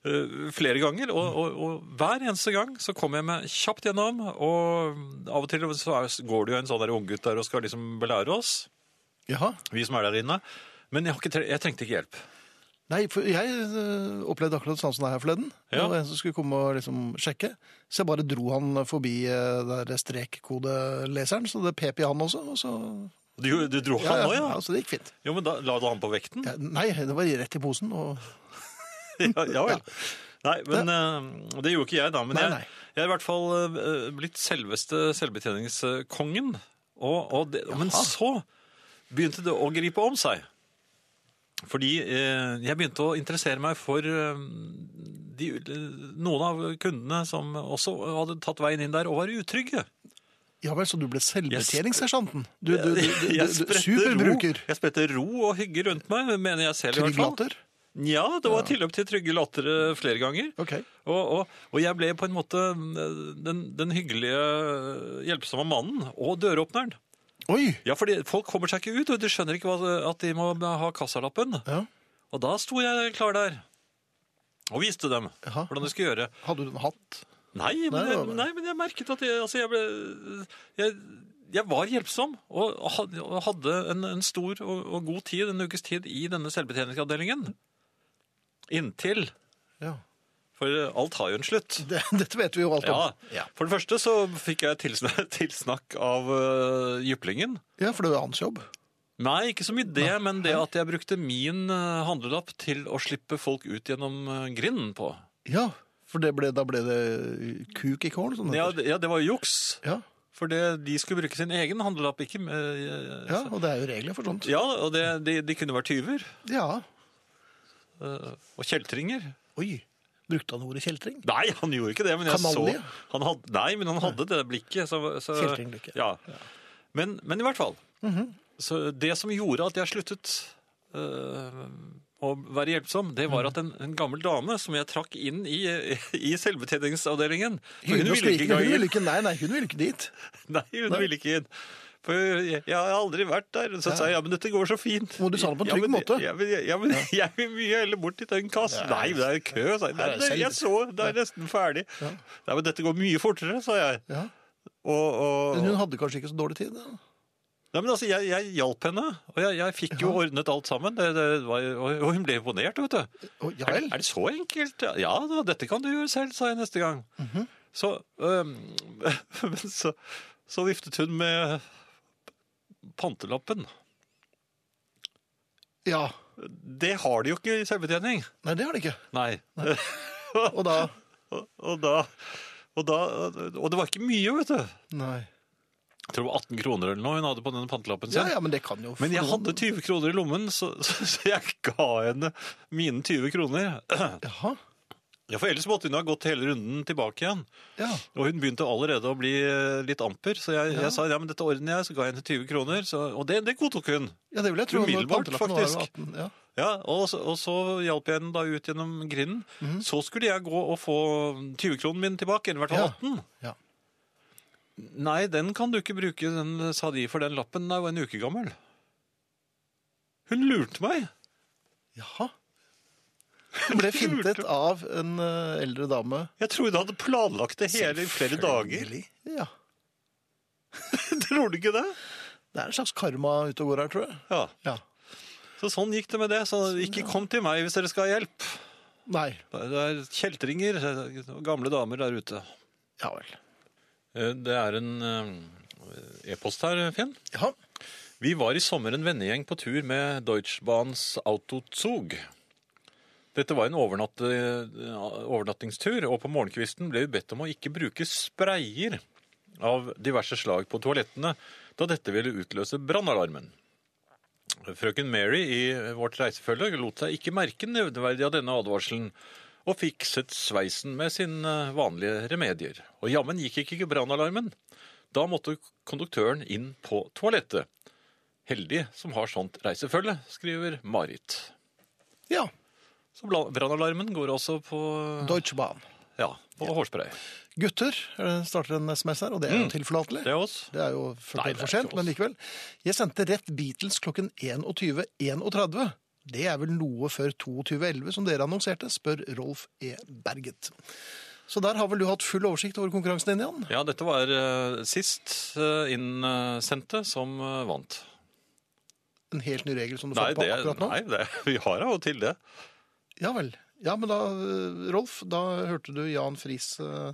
B: øh, flere ganger, og,
A: Mhm.
B: og, og hver eneste gang så kommer jeg meg kjapt gjennom, og av og til så er, går det jo en sånn der unggutt der og skal liksom belære oss,
A: Jaha.
B: vi som er der inne, men jeg, har ikke, tre- jeg trengte ikke hjelp.
A: Nei, for jeg øh, opplevde akkurat sånn som det her forleden.
B: Ja.
A: Det var en som skulle komme og liksom sjekke. Så jeg bare eh, dro han forbi øh, der strekkodeleseren, så det pep i han også. Og så
B: Du, du dro
A: Ja,
B: han
A: ja,
B: nå,
A: ja.
B: ja?
A: så det gikk fint.
B: Jo, men da la du han på vekten?
A: Ja, nei, det var rett i posen. Og...
B: Ja, ja vel. Nei, men eh, det gjorde ikke jeg da. Men
A: Nei,
B: jeg,
A: nei.
B: jeg er i hvert fall eh, blitt selveste selvbetjeningskongen. Og, og det, men
A: Jaha.
B: så begynte det å gripe om seg. Fordi eh, jeg begynte å interessere meg for eh, de, noen av kundene som også hadde tatt veien inn der og var utrygge.
A: Ja vel, så du ble selvbetjeningssersjanten? Du, du, du, du,
B: Jeg
A: du, du
B: spredte ro,
A: superbruker.
B: jeg spredte ro og hygge rundt meg, mener jeg selv i hvert fall.
A: Trigglater?
B: Ja, det var tilløp til trygge latter eh, flere ganger.
A: Ok.
B: Og, og, og jeg ble på en måte den, den hyggelige, hjelpsomme mannen og døråpneren.
A: Oi!
B: Ja, fordi folk kommer seg ikke ut, og de skjønner ikke hva, at de må ha kassalappen.
A: Ja.
B: Og da sto jeg klar der og viste dem
A: Jaha.
B: hvordan de skulle gjøre.
A: Hadde du en hatt?
B: Nei, men,
A: Nei,
B: jeg,
A: det var-
B: nei, men jeg merket at jeg, altså, jeg ble jeg, jeg var hjelpsom og had- og hadde en, en stor og, og god tid, en ukes tid, i denne selvbetjeningsavdelingen. Inntil
A: Ja.
B: For alt har jo en slutt.
A: Det, dette vet vi jo alt om.
B: Ja. For det første så fikk jeg tilsnakk, tilsnakk av uh, jyplingen.
A: Ja, for det var hans jobb.
B: Nei, ikke så mye det, men det at jeg brukte min eh, handlelapp til å slippe folk ut gjennom eh, grinden på.
A: Ja, for det ble, da ble det kuk i kålen? Sånn det
B: Ja,
A: heter.
B: det, ja, det var jo juks.
A: ja.
B: For det, de skulle bruke sin egen handlelapp, ikke eh,
A: ja, og det er jo regler for sånt.
B: Ja, og det, de, de kunne vært tyver.
A: Ja.
B: eh, og kjeltringer.
A: Oi. Brukte han ordet kjeltring?
B: Nei, han gjorde ikke det, men jeg
A: Kanalje?
B: så han hadde, Nei, men han hadde det blikket. Så, så,
A: Kjeltringblikket.
B: Ja. Men, men i hvert fall.
A: Mhm.
B: Så det som gjorde at jeg sluttet øh, å være hjelpsom, det
A: Mhm.
B: var at en, en gammel dame som jeg trakk inn i, i selvbetjeningsavdelingen for
A: Hun,
B: Hun ville ikke
A: skrike,
B: gå
A: hun ville
B: inn.
A: ikke, nei, nei, hun ville ikke dit.
B: Nei, hun
A: Nei.
B: ville ikke inn. For jeg, jeg har aldri vært der. Så sa jeg ja, men dette går så fint.
A: Og du sa det på en
B: Ja,
A: trygg
B: men-
A: måte.
B: Ja, men, ja, men jeg vil mye heller bort til den kassen.
A: Ja,
B: Nei, men det er kø, sa jeg.
A: Her er
B: Nei,
A: det selv-
B: jeg så, det er nesten ferdig. Nei, men dette går mye fortere, sa jeg.
A: Ja.
B: Og, og,
A: Men hun hadde kanskje ikke så dårlig tid? da?
B: Nei, men altså, jeg, jeg hjalp henne, og jeg, jeg fikk jo ordnet alt sammen. Det, det var, og, og hun ble imponert, vet du.
A: Å, ja
B: Er,
A: vel.
B: er det så enkelt? Ja da, dette kan du gjøre selv, sa jeg neste gang.
A: Mhm.
B: Så, øhm, men så, så viftet hun med pantelappen.
A: Ja.
B: Det har de jo ikke i selvbetjening.
A: Nei, det har det ikke.
B: Nei.
A: Og da
B: og, og da... Og, da, og det var ikke mye, vet du.
A: Nei.
B: Jeg tror det var 18 kroner eller noe hun hadde på den pantelappen sin.
A: Ja, ja, men det kan jo
B: Men jeg
A: for noen-
B: hadde 20 kroner i lommen, så, så, så jeg ga henne mine 20 kroner.
A: Jaha.
B: Ja, for ellers måtte hun ha gått hele runden tilbake igjen.
A: Ja.
B: Og hun begynte allerede å bli eh, litt amper, så jeg, jeg sa ja, men dette ordner jeg, så ga jeg henne 20 kroner, så, og det, det godtok hun.
A: ja, det vil jeg tro. når
B: Umiddelbart,
A: pantelappen var jo
B: faktisk.
A: 18, Ja.
B: Ja, og, så- og så hjalp jeg henne da ut gjennom grinden.
A: Mhm.
B: Så skulle jeg gå og få 20-kronen min tilbake, eller i hvert fall
A: Ja.
B: 18.
A: Ja.
B: Nei, den kan du ikke bruke, den, sa de, for den lappen er jo en uke gammel. Hun lurte meg.
A: Jaha. Hun ble fintet av en eh, eldre dame.
B: Jeg tror hun hadde planlagt det hele i flere dager.
A: Selvfølgelig. Ja.
B: Tror du ikke det?
A: Det er en slags karma ute og går her, tror jeg.
B: Ja.
A: Ja.
B: Så sånn gikk det med det. Så
A: Sånn,
B: ikke kom til meg hvis dere skal ha hjelp.
A: Nei.
B: Det er kjeltringer og gamle damer der ute.
A: Ja vel.
B: Det er en eh, e-post her, Finn.
A: Ja.
B: Vi var i sommer en vennegjeng på tur med Deutschbahns Autozug. Dette var en overnatt, eh, overnattingstur, og på morgenkvisten ble vi bedt om å ikke bruke sprayer av diverse slag på toalettene, da dette ville utløse brannalarmen. Frøken Mary i vårt reisefølge lot seg ikke merke nevneverdig av denne advarselen, og fikset sveisen med sine vanlige remedier. Og jammen gikk ikke brannalarmen. Da måtte konduktøren inn på toalettet. Heldig som har sånt reisefølge, skriver Marit.
A: ja.
B: Så bla- brannalarmen går også på,
A: Deutsche Bahn.
B: ja, på hårspray.
A: Gutter eh, starter en SMS her, og det er jo tilforlatelig.
B: Det er oss.
A: Det er jo 40
B: Mm. Nei,
A: år
B: det er
A: for sent,
B: ikke oss.
A: men likevel. Jeg sendte rett Beatles klokken 21.31. Det er vel noe før 22.11 som dere annonserte, spør Rolf E. Berget. Så der har vel du hatt full oversikt over konkurransen din, Jan?
B: Ja, dette var eh, sist eh, innsendte som eh, vant.
A: En helt ny regel som du
B: Nei,
A: fant på
B: det,
A: akkurat nå?
B: nei det, vi har av og til det.
A: Ja vel. Ja, men da, eh, Rolf, da hørte du Jan Friis eh,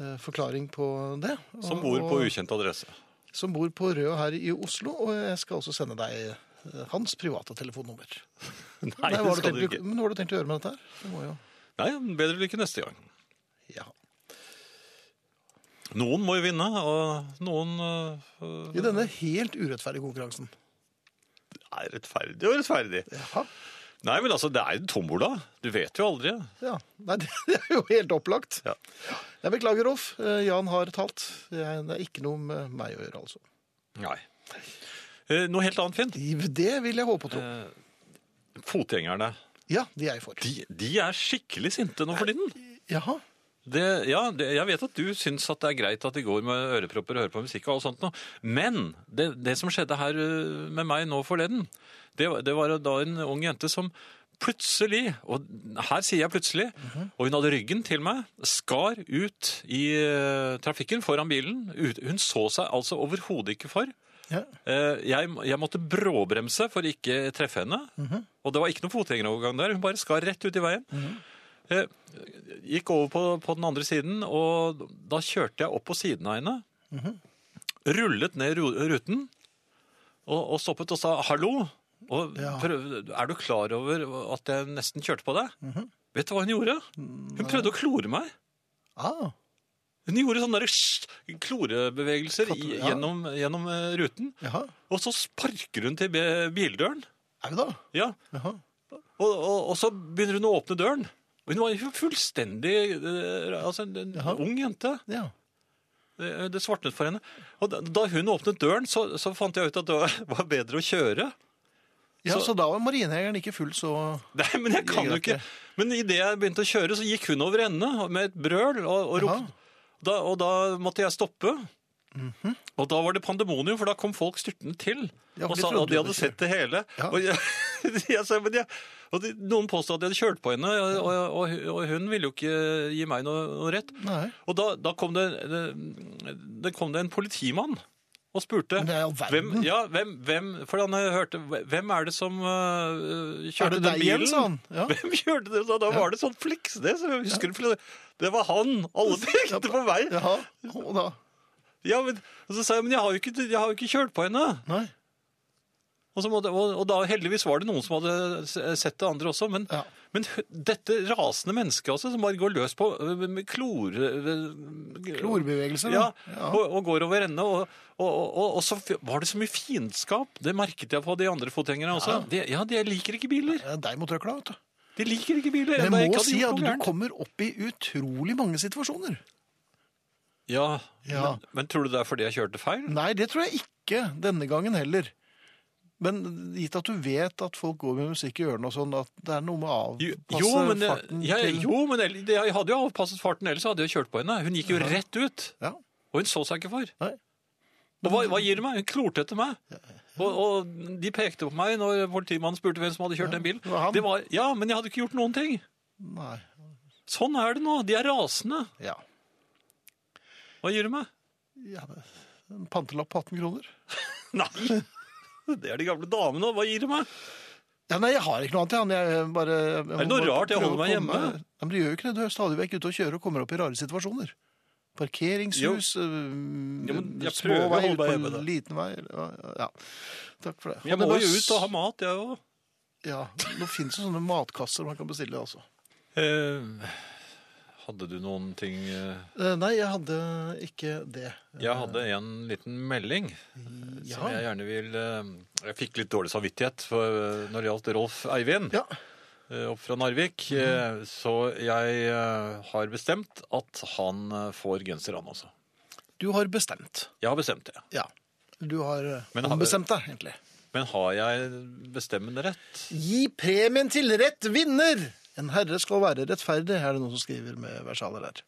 A: eh, forklaring på det.
B: Som bor på ukjent adresse.
A: som bor på Røa her i Oslo, og jeg skal også sende deg eh, hans private telefonnummer.
B: Nei,
A: Nei,
B: det
A: hva har du
B: skal du
A: tenkt,
B: ikke.
A: Men hva har du tenkt å gjøre med dette her? Det må jo...
B: Nei, bedre lykke neste gang.
A: Ja.
B: Noen må jo vinne, og noen øh,
A: I denne helt urettferdige konkurransen.
B: er rettferdig og rettferdig.
A: Jaha.
B: Nei, men altså, det er jo tombola. Du vet jo aldri.
A: Ja. Nei, det er jo helt opplagt.
B: Ja.
A: Jeg beklager, Rolf. Eh, Jan har talt. Jeg- Det er ikke noe med meg å gjøre, altså.
B: Nei. Eh, Noe helt annet, Finn.
A: I- Det vil jeg håpe og tro.
B: Eh, Fotgjengerne,
A: Ja, de er jeg for.
B: de, de er skikkelig sinte nå for tiden.
A: Jaha.
B: Det, ja, det, jeg vet at du syns at det er greit at de går med ørepropper og hører på musikk og alt sånt noe, men det, det som skjedde her øh, med meg nå forleden, det, var- det var da en ung jente som plutselig, og her sier jeg plutselig, og hun hadde ryggen til meg, skar ut i øh, trafikken foran bilen. Ut, hun så seg altså overhodet ikke for.
A: Ja.
B: Eh, Jeg, jeg måtte bråbremse for ikke treffe henne. Og det var ikke noen fotgjengerovergang der. Hun bare skar rett ut i veien. Eh, Gikk over på, på den andre siden, og da kjørte jeg opp på siden av henne. Rullet ned ru- ruten og, og stoppet og sa 'hallo'. Og
A: Ja.
B: prøv, 'Er du klar over at jeg nesten kjørte på deg?' Vet du hva hun gjorde? Hun prøvde å klore meg.
A: Ah,
B: Hun gjorde sånne der sj- klorebevegelser
A: Katte-
B: i,
A: ja.
B: gjennom, gjennom eh, ruten.
A: jaha.
B: Og så sparker hun til be- bildøren.
A: Er vi da?
B: Ja.
A: Jaha.
B: Og, og, og så begynner hun å åpne døren. Og hun var jo fullstendig eh, altså en, en
A: Jaha.
B: ung jente.
A: Ja.
B: Det, det svartnet for henne. Og da, da hun åpnet døren, så, så fant jeg ut at det var- var bedre å kjøre.
A: ja så,
B: Så-
A: da var marinejegeren ikke full, så
B: Nei, men jeg kan jo ikke. Men idet jeg begynte å kjøre, så gikk hun over ende med et brøl og, og
A: Jaha.
B: ropte. Da, og da måtte jeg stoppe. Og da var det pandemonium, for da kom folk styrtende til.
A: Mhm. Ja, for
B: og
A: de
B: sa
A: trodde
B: at de
A: jo
B: hadde
A: det
B: sett det hele.
A: Ja.
B: Og, jeg, jeg sa, men jeg, og de, noen påstod at de hadde kjørt på henne, og, og, og, hun- og hun ville jo ikke gi meg noe, noe rett.
A: Nei.
B: Og da, da kom, det, det, det kom det en politimann og spurte
A: Men det er all
B: hvem,
A: verden.
B: ja, hvem, hvem, for han hørte, hvem er det som øh,
A: Er
B: kjørte
A: det
B: den
A: deg igjen,
B: bilen?
A: sa han? Ja.
B: Hvem gjorde det? Så Da var det sånn Fleksnes. Jeg husker det, for det var han. Alle pekte på meg.
A: Jaha. Og da?
B: Ja, men, og så sa jeg men jeg har jo ikke, jeg har jo ikke kjørt på henne.
A: Nei.
B: Og, så måtte, og, og da heldigvis var det noen som hadde s- sett det andre også. Men,
A: Ja.
B: men hø- dette rasende mennesket altså, som bare går løs på øh, med klor... øh,
A: Klorbevegelser,
B: Ja,
A: da. Ja.
B: Og, og går over ende. Og, og, og, og så f- var det så mye fiendskap. Det merket jeg på de andre fotgjengerne også. De, ja, de liker ikke biler.
A: Det er deg mot røkla, vet du.
B: De liker ikke biler.
A: Men
B: enda
A: jeg
B: ikke
A: må
B: hadde
A: si at
B: gjort noe
A: du
B: gærent.
A: kommer opp i utrolig mange situasjoner.
B: Ja,
A: Ja.
B: Men, men tror du det er fordi jeg kjørte feil?
A: Nei, det tror jeg ikke denne gangen heller. Men gitt at du vet at folk går med musikk i ørene og sånn, at det er noe med å
B: Jo,
A: avpasse
B: jo, men, det-
A: farten
B: jeg,
A: til
B: jo, men jeg, jeg hadde jo avpasset farten, ellers hadde jeg kjørt på henne. Hun gikk jo rett ut,
A: Ja.
B: og hun så seg ikke for.
A: Nei.
B: Og hva, hva gir det meg? Hun klorte etter meg. Og, og de pekte på meg når politimannen spurte hvem som hadde kjørt den bilen.
A: det var han.
B: Det var, ja, men jeg hadde ikke gjort noen ting.
A: Nei.
B: Sånn er det nå. De er rasende.
A: Ja.
B: Hva gir det meg?
A: ja det- en pantelapp på 18 kroner.
B: Nei. Det er de gamle damene. Hva gir det meg?
A: Ja, nei, jeg har ikke noe annet. Jan. Jeg bare, jeg må
B: det noe
A: bare
B: rart?
A: prøve
B: Jeg
A: å
B: holder meg
A: komme-
B: hjemme.
A: Nei, men du gjør jo ikke det. Du er stadig vekk ute og kjører og kommer opp i rare situasjoner. Parkeringshus, eh,
B: Jo, men jeg
A: små
B: prøver å
A: veier
B: holde meg hjemme,
A: på
B: da.
A: en liten vei. Ja, ja. Takk for det.
B: Jeg
A: Og
B: må
A: det
B: jo
A: var-
B: ut og ha mat, jeg òg.
A: Ja, nå finnes det sånne matkasser man kan bestille, altså.
B: Eh, hadde du noen ting eh?
A: Eh, Nei, jeg hadde ikke det.
B: Jeg hadde en liten melding som Eh, jeg
A: Ja.
B: gjerne vil eh, Jeg fikk litt dårlig samvittighet for, eh, når det gjaldt Rolf Eivind
A: ja. Mhm.
B: eh, opp fra Narvik. eh, Så jeg eh, har bestemt at han eh, får genser, han også.
A: Du har bestemt.
B: Jeg har bestemt det.
A: Ja. Du har eh,
B: Men har-
A: ombestemt deg, egentlig.
B: Men har jeg bestemmende rett?
A: Gi premien til rett vinner! En herre skal være rettferdig, er det noen som skriver med versaler her.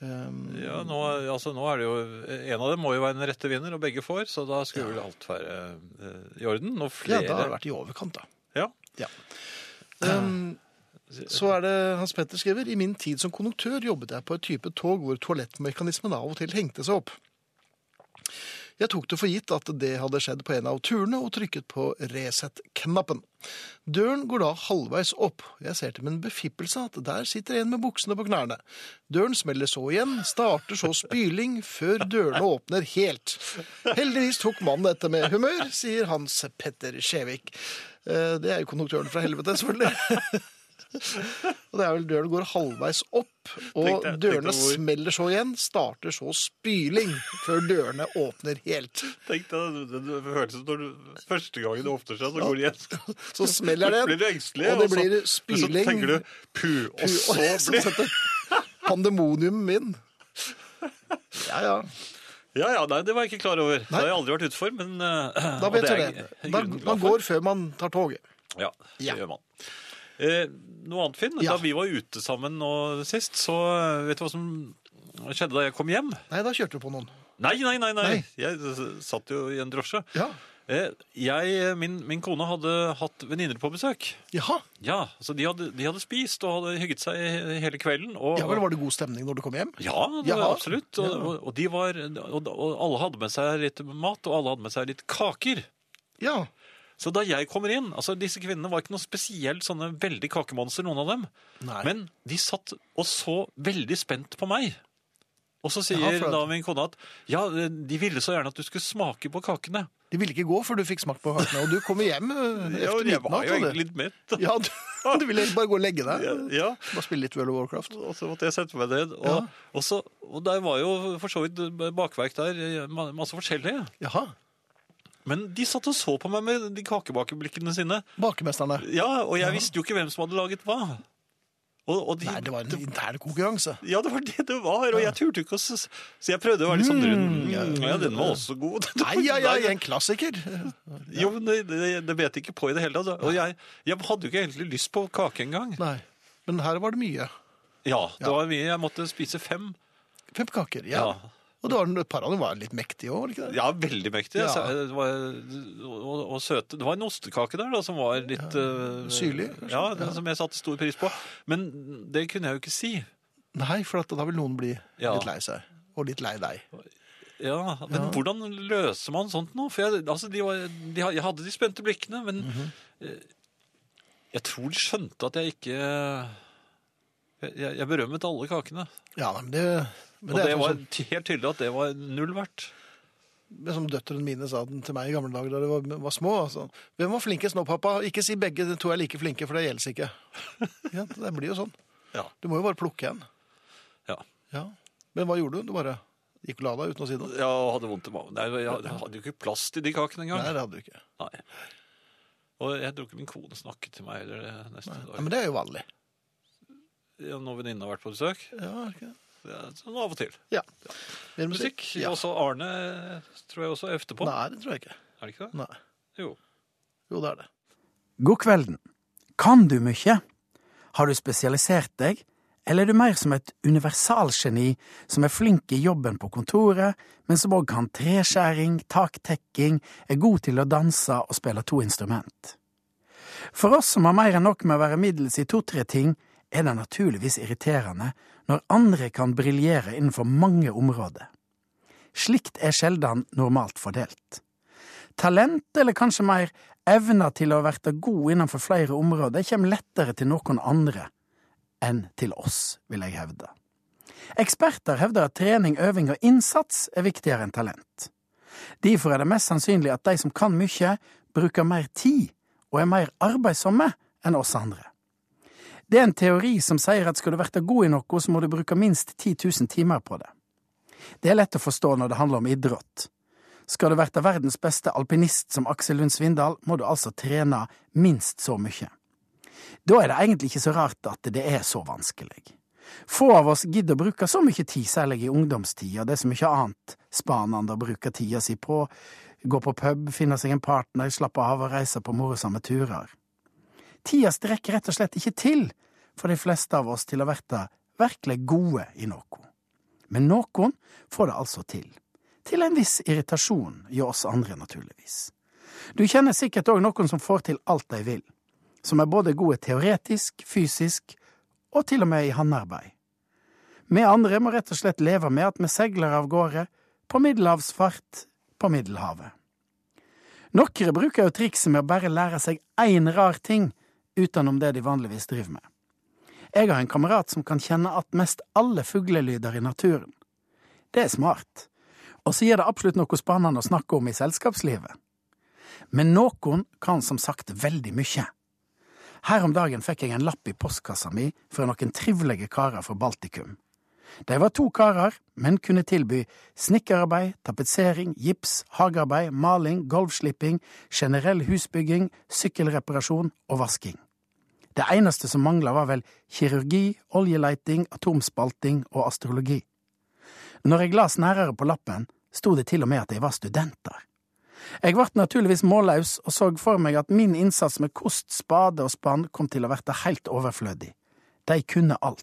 A: Um,
B: Ja, nå, altså, nå er det jo En av dem må jo være den rette vinner, og begge får, så da skulle vel alt være eh, i orden. Og
A: ja,
B: flere
A: da har det vært i overkant, da.
B: Ja.
A: Ja. Um, så er det Hans Petter skriver I min tid som konduktør jobbet jeg på et type tog hvor toalettmekanismen av og til hengte seg opp. Jeg tok det for gitt at det hadde skjedd på en av turene, og trykket på reset-knappen. Døren går da halvveis opp. Jeg ser til min befippelse at der sitter en med buksene på knærne. Døren smeller så igjen, starter så spyling, før dørene åpner helt. Heldigvis tok mannen dette med humør, sier Hans Petter Skjevik. Eh, Det er jo konduktøren fra helvete, selvfølgelig. Og det er vel døren går halvveis opp, og
B: Tenkte jeg- tenkte
A: dørene
B: jeg hvor-
A: smeller så igjen, starter så spyling, før dørene åpner helt.
B: Tenk deg, det, det, det høres ut som når du Første gangen det åpner seg, så går det igjen.
A: Så smeller det
B: Så blir du engstelig,
A: og det
B: og så-
A: blir
B: Men så
A: spyling.
B: tenker du puh, og så blir
A: Pandemonium min. Ja, ja.
B: Ja ja, nei, det var jeg ikke klar over. Det har jeg aldri vært ute for, men eh,
A: Da
B: og
A: vet
B: det
A: du
B: er
A: det.
B: jeg i
A: Da,
B: grunnen glad
A: man
B: for.
A: går før man tar toget.
B: Ja, det
A: Ja.
B: gjør man. Eh, noe annet, Finn.
A: Ja.
B: Da vi var ute sammen nå sist, så eh, vet du hva som skjedde da jeg kom hjem?
A: Nei, da kjørte du på noen.
B: Nei, nei, nei! nei.
A: Nei.
B: Jeg eh, satt jo i en drosje.
A: Ja.
B: Eh, jeg, min, min kone hadde hatt venninner på besøk.
A: Jaha.
B: Ja, så de hadde, de hadde spist og hadde hygget seg hele kvelden. Og,
A: Ja vel, var det god stemning når du kom hjem?
B: Ja, det var
A: Jaha.
B: absolutt. Og, og, og, de var, og, og alle hadde med seg litt mat, og alle hadde med seg litt kaker.
A: Ja.
B: Så da jeg kommer inn, altså disse kvinnene var ikke noe spesielt sånne veldig kakemonster, noen av dem.
A: Nei.
B: Men de satt og så veldig spent på meg. Og så sier
A: Jaha, for at-
B: da min kone at ja, de ville så gjerne at du skulle smake på kakene.
A: De ville ikke gå før du fikk smakt på kakene, og du kom hjem eh,
B: Ja,
A: etter
B: og jeg var
A: midnatt.
B: jo
A: og det-
B: egentlig litt mett.
A: Ja, du, du ville egentlig bare gå og legge deg.
B: Ja,
A: Bare spille litt World of Warcraft.
B: og så måtte jeg sette meg ned. Og,
A: Ja.
B: og, så, og der var jo for så vidt bakverk der, ma- masse forskjellige.
A: Jaha.
B: Men de satt og så på meg med de kakebakeblikkene sine.
A: Bakemesterne.
B: Ja, og jeg visste jo ikke hvem som hadde laget hva. Og, og de,
A: Nei, det var en intern konkurranse.
B: Ja, det var det det var, og jeg turte ikke å s- Så jeg prøvde å være litt sånn rund. Ja, den var også god.
A: Mm. Nei, ja, ja, en klassiker.
B: Jo, men det, det, det bet jeg ikke på i det hele tatt. Og jeg, jeg hadde jo ikke egentlig lyst på kake engang.
A: Nei. Men her var det mye.
B: Ja,
A: Ja.
B: det var mye. Jeg måtte spise fem.
A: Fem kaker, ja.
B: Ja.
A: Og det var, en- et par av dem var litt mektige òg, var det ikke det?
B: Ja, veldig mektig.
A: Ja.
B: Så Det var, og, og søte. Det var en ostekake der da, som var litt eh,
A: Syrlig, kanskje?
B: Ja, den som jeg satte stor pris på. Men det kunne jeg jo ikke si.
A: Nei, for at da vil noen bli
B: Ja.
A: litt lei seg. Og litt lei deg.
B: Ja, men hvordan løser man sånt nå? For jeg, altså, de var, de, ha- jeg hadde de spente blikkene, men
A: Mhm.
B: eh, jeg tror de skjønte at jeg ikke Jeg, jeg berømmet alle kakene.
A: Ja, nei, men det, men
B: og
A: det
B: det,
A: er
B: var
A: sånn som,
B: helt tydelig at det var null verdt.
A: det er som døtrene mine sa den til meg i gamle dager da de var, var små. Altså. 'Hvem var flinkest nå, pappa?' Ikke si begge de to er like flinke, for det gjelder ikke. Ja, det blir jo sånn.
B: Ja.
A: Du må jo bare plukke en.
B: Ja.
A: Ja. Men hva gjorde du? Du bare gikk og la deg uten å si noe?
B: Jeg hadde vondt i magen. Nei, Jeg jeg hadde jo ikke plass til de kakene engang.
A: Nei,
B: Nei.
A: det hadde du ikke.
B: Og jeg tror ikke min kone snakket til meg eller det neste
A: Ja,
B: dag.
A: men det er jo vanlig.
B: Ja, Når venninnen har vært på besøk.
A: Ja, er det ikke det?
B: Ja, Sånn av og til.
A: ja. Mer
B: Musikk.
A: Ja.
B: Også Arne eh, tror jeg også er efterpå.
A: Nei, det tror jeg ikke.
B: Er det ikke det?
A: Nei.
B: Jo.
A: Jo, det er det.
D: God kvelden. Kan du mykje? Har du spesialisert deg, eller er du mer som et universalgeni som er flink i jobben på kontoret, men som òg kan treskjæring, taktekking, er god til å danse og spille to instrument? For oss som har mer enn nok med å være middels i to-tre ting, er det naturligvis irriterende når andre kan briljere innenfor mange områder. Slikt er sjeldan normalt fordelt talent, eller kanskje mer evner til å verte god innenfor flere områder, kommer lettere til noen andre enn til oss, vil jeg hevde. Eksperter hevder at trening, øving og innsats er viktigere enn talent. Derfor er det mest sannsynlig at de som kan mye, bruker mer tid og er mer arbeidsomme enn oss andre. Det er en teori som sier at skal du verte god i noe, så må du bruke minst 10 000 timer på det. Det er lett å forstå når det handler om idrett. Skal du verte verdens beste alpinist som Aksel Lund Svindal, må du altså trene minst så mye. Da er det egentlig ikke så rart at det er så vanskelig. Få av oss gidder å bruke så mye tid, særlig i ungdomstida, det er så mye annet spanende å bruke tida si på, gå på pub, finne seg en partner, slappe av og reise på morosamme turer. Tida strekker rett og slett ikke til for de fleste av oss til å verte virkelig gode i noe. Men noen får det altså til til en viss irritasjon i oss andre, naturligvis. Du kjenner sikkert òg noen som får til alt de vil, som er både gode teoretisk, fysisk og til og med i handarbeid. Vi andre må rett og slett leve med at vi seiler av gårde på middelhavsfart på Middelhavet. Noen bruker jo trikset med å bare lære seg én rar ting utenom det de vanligvis driver med. Jeg har en kamerat som kan kjenne at mest alle fuglelyder i naturen. Det er smart, og så gir det absolutt noe spennende å snakke om i selskapslivet. Men noen kan som sagt veldig mye. Her om dagen fikk jeg en lapp i postkassa mi fra noen trivelige karer fra Baltikum. De var to karer, men kunne tilby snekkerarbeid, tapetsering, gips, hagearbeid, maling, gulvslipping, generell husbygging, sykkelreparasjon og vasking. Det eneste som mangla var vel kirurgi, oljeleiting, atomspalting og astrologi. Når jeg las nærere på lappen, sto det til og med at de var studenter. Jeg ble naturligvis målløs og så for meg at min innsats med kost, spade og spann kom til å verte helt overflødig. De kunne alt.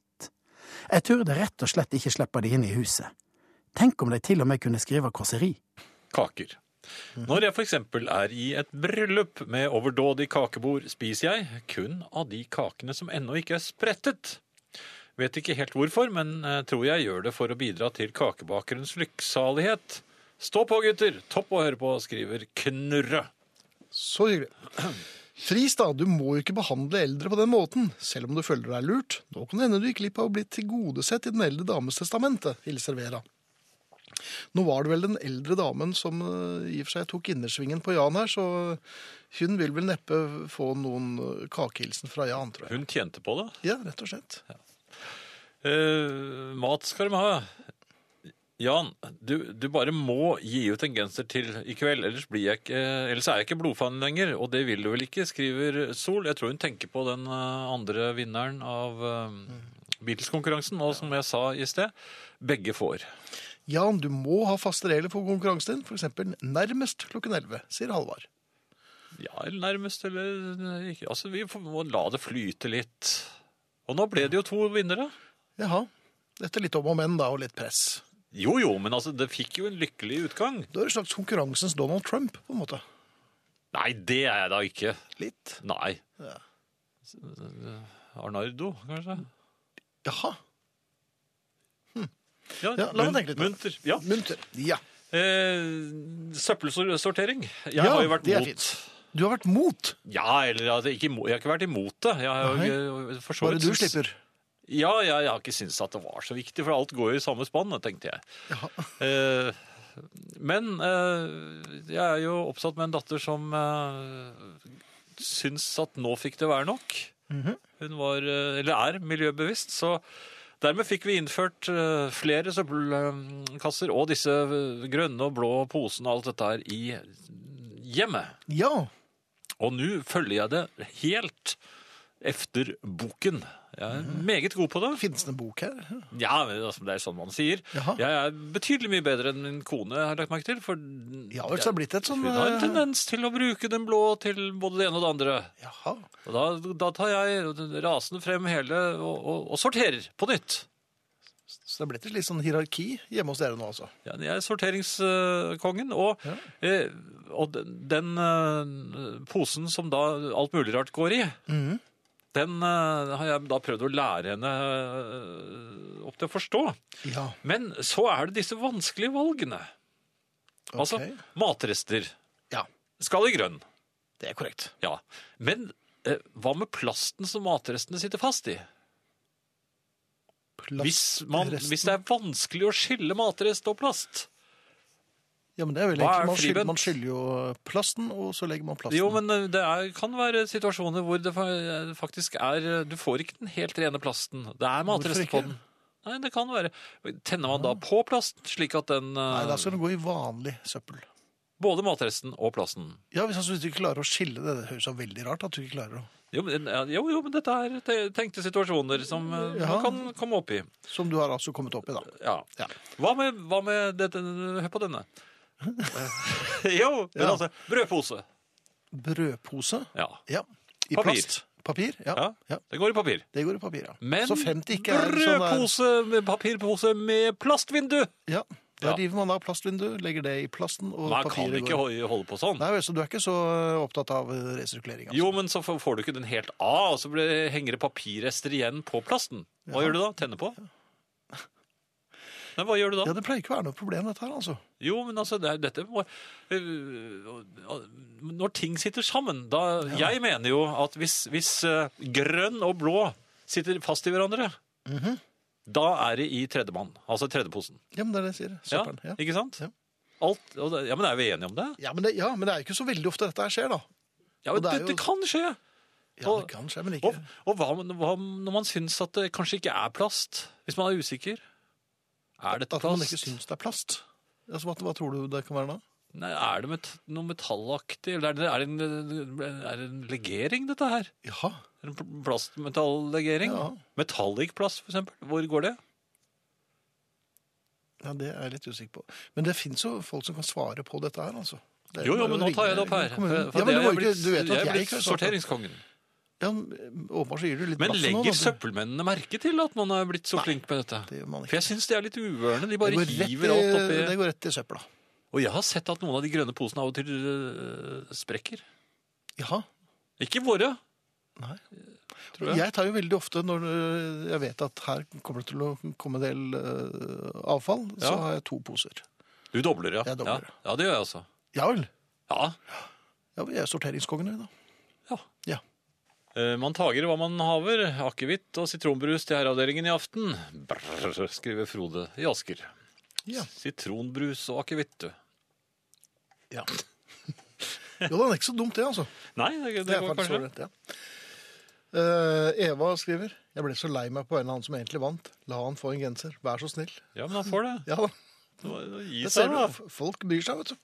D: Jeg turde rett og slett ikke slippe de inn i huset. Tenk om de til og med kunne skrive kåseri.
B: kaker. Når jeg f.eks. er i et bryllup med overdådig kakebord, spiser jeg kun av de kakene som ennå ikke er sprettet. Vet ikke helt hvorfor, men eh, tror jeg gjør det for å bidra til kakebakerens lykksalighet. Stå på, gutter! Topp å høre på, skriver Knurre.
A: Så hyggelig. Fris, da. Du må jo ikke behandle eldre på den måten, selv om du føler deg lurt. Nå kan det hende du gikk glipp av å bli tilgodesett i den eldre dames testamente, hilser Vera. Nå var det vel den eldre damen som eh, i og for seg tok innersvingen på Jan her, så hun vil vel neppe få noen eh, kakehilsen fra Jan, tror jeg.
B: Hun tjente på det.
A: Ja, rett og slett.
B: Eh, mat skal de ha. Jan, du, du bare må gi ut en genser til i kveld, ellers, blir jeg ikke, eh, ellers er jeg ikke blodfan lenger. Og det vil du vel ikke, skriver Sol. Jeg tror hun tenker på den eh, andre vinneren av eh, Beatles-konkurransen, nå som jeg sa i sted. Begge får.
A: Jan, du må ha faste regler for konkurransen din, for eksempel nærmest klokken 11, sier Halvard.
B: Ja, eller nærmest, eller ikke. Altså, vi får, må la det flyte litt. Og nå ble det jo to vinnere.
A: Jaha. Dette er litt om og men, da, og litt press.
B: Jo, jo, men altså, det fikk jo en lykkelig utgang.
A: Du er en slags konkurransens Donald Trump, på en måte.
B: Nei, det er jeg da ikke.
A: Litt.
B: Nei.
A: Ja.
B: Arnardo, kanskje?
A: Jaha. Ja, la meg
B: mun-
A: tenke litt.
B: Munter. Ja.
A: Munter. Ja.
B: Eh, søppelsortering. Jeg
A: Ja,
B: har jo vært
A: det er
B: mot
A: fint. Du har vært mot.
B: Ja, eller altså, ikke, imo- jeg har ikke vært imot det. Jeg har
A: Nei.
B: jo, eh, for så
A: Bare
B: vidt
A: du
B: syns-
A: slipper.
B: Ja, jeg, jeg har ikke syntes at det var så viktig, for alt går jo i samme spann, tenkte jeg. Eh, men eh, jeg er jo oppsatt med en datter som eh, syns at nå fikk det være nok. Hun var, eh, eller er, miljøbevisst, så dermed fikk vi innført eh, flere søppelkasser og disse eh, grønne og blå posene og alt dette her i hjemmet.
A: Ja.
B: Og nå følger jeg det helt efter boken. Jeg er meget god på det.
A: Finnes det en bok her?
B: Ja, men altså, det er sånn man sier.
A: Jaha.
B: Jeg er betydelig mye bedre enn min kone, har jeg lagt merke til. For
A: Ja, vel, så det har blitt et sånn
B: hun har en
A: eh,
B: tendens til å bruke den blå til både det ene og det andre.
A: Jaha.
B: Og da, da tar jeg rasende frem hele og, og, og sorterer på nytt.
A: Så det har blitt et litt sånn hierarki hjemme hos dere nå, altså.
B: Ja, jeg er sorteringskongen, og, eh, og den, den eh, posen som da alt mulig rart går i,
A: Mhm.
B: den eh, har jeg da prøvd å lære henne eh, opp til å forstå.
A: Ja.
B: Men så er det disse vanskelige valgene. Altså,
A: Ok.
B: matrester
A: Ja.
B: skal i grønn.
A: Det er korrekt.
B: Ja. Men eh, hva med plasten som matrestene sitter fast i? Hvis, man,
A: Plastresten.
B: hvis det er vanskelig å skille matrest og plast.
A: Ja, men det er vel egentlig
B: Hva er
A: man skylder,
B: fribent?
A: man skylder jo plasten, og så legger man plasten.
B: Jo, men eh, det er, kan være situasjoner hvor det fa- faktisk er eh, Du får ikke den helt rene plasten. Det er matrester
A: ikke? Ah.
B: på den. Nei, det kan være. Tenner man da på plasten, slik at den eh,
A: Nei, da skal den gå i vanlig søppel.
B: Både matresten og plasten.
A: Ja, hvis altså, hvis du ikke klarer å skille det, det høres jo veldig rart at du ikke klarer å...
B: Jo, men, ja, jo, jo, men dette er te- tenkte situasjoner som eh,
A: Ja.
B: man kan komme opp i.
A: Som du har altså kommet opp i, da.
B: Ja.
A: Ja.
B: Hva med, hva med dette Hør på denne. jo, men
A: Ja.
B: altså Brødpose.
A: Brødpose.
B: Ja.
A: Ja. I
B: Papir.
A: plast. Papir. Ja.
B: ja.
A: ja.
B: Det går i papir.
A: Det går i papir, ja.
B: Men
A: så 50 ikke er sånn der.
B: brødpose med papirpose med plastvindu!
A: Ja. Der
B: Ja.
A: river man av plastvindu, legger det i plasten, og
B: Man kan
A: papiret
B: ikke
A: går.
B: ho- holde på sånn.
A: Nei, vel, så du er ikke så eh, opptatt av resirkulering? Altså.
B: Jo, men så får får du ikke den helt av, og så blir- henger det papirrester igjen på plasten. Hva gjør du da? Tenner på? Nei, hva gjør du da?
A: Ja, det pleier ikke å være noe problem, dette her, altså.
B: Jo, men altså, det er, dette må øh, Når ting sitter sammen da, Jeg mener jo at hvis, hvis øh, grønn og blå sitter fast i hverandre,
A: Mhm.
B: da er det i tredjemann. Altså tredjeposen.
A: Ja, men det er det jeg sier.
B: Ja,
A: Søppelen. Ja.
B: Ikke sant?
A: Ja.
B: Alt, og det, ja, men er vi enige om det?
A: Ja, men det, ja, men det er jo ikke så veldig ofte dette her skjer, da.
B: Ja, men
A: Og det er
B: dette
A: jo-
B: kan skje!
A: Ja,
B: Og-
A: det kan skje, men ikke
B: Og, og hva, om- hva om når man syns at det kanskje ikke er plast? Hvis man er usikker? Er dette
A: At man
B: plast?
A: ikke syns det er plast. Altså, hva, hva tror du det kan være da?
B: Nei, er det met noe metallaktig? Eller er det, er, det en, er det en legering, dette her?
A: Jaha.
B: Er det En pl- plastmetallegering?
A: Ja. Eh,
B: Metallic plast, for eksempel. Hvor går det?
A: Ja, det er jeg litt usikker på. Men det fins jo folk som kan svare på dette her, altså. Det er
B: Jo,
A: bare
B: jo, men
A: å
B: nå tar jeg det
A: ringe
B: opp her.
A: kommunen.
B: for
A: Ja, men
B: det
A: du, må
B: er jeg
A: jo ikke,
B: blitt-
A: du vet at
B: jeg
A: jeg
B: er blitt
A: ikke har svart.
B: sorteringskongen.
A: Ja, men åpenbart så gir du litt
B: Men
A: blaffen nå,
B: legger
A: da.
B: søppelmennene merke til at man er blitt så flink med dette?
A: Det gjør man
B: For
A: ikke.
B: jeg syns de er litt uørne. De
A: Det
B: bare
A: går, rett i,
B: hiver alt
A: det
B: oppi.
A: går rett i søpla.
B: Og jeg har sett at noen av de grønne posene av og til øh, sprekker.
A: Jaha.
B: Ikke våre.
A: Nei.
B: Tror jeg.
A: Jeg tar jo veldig ofte, når øh, jeg vet at her kommer det til å komme en del øh, avfall, så
B: Ja.
A: har jeg to poser.
B: Du dobler, ja.
A: Jeg dobler.
B: Ja, ja det gjør jeg også.
A: Ja vel.
B: Ja.
A: Ja, vi er sorteringskongen, vi, da.
B: ja.
A: Ja.
B: Eh, Man tager hva man haver. Akevitt og sitronbrus til herreavdelingen i aften. Brr, skriver Frode i Asker.
A: Ja.
B: Sitronbrus og akevitt, du.
A: ja. Jo, det er ikke så dumt, det, altså.
B: Nei,
A: Det
B: det, det
A: er
B: går
A: faktisk
B: kanskje.
A: ålreit, ja. Eh, Eva skriver Jeg ble så lei meg på en av han som egentlig vant. La han få en genser, vær så snill.
B: Ja, men han får det.
A: Ja da.
B: Det var- det var- Gi
A: Det
B: seg,
A: ser du.
B: da.
A: f- Folk bryr seg, vet du.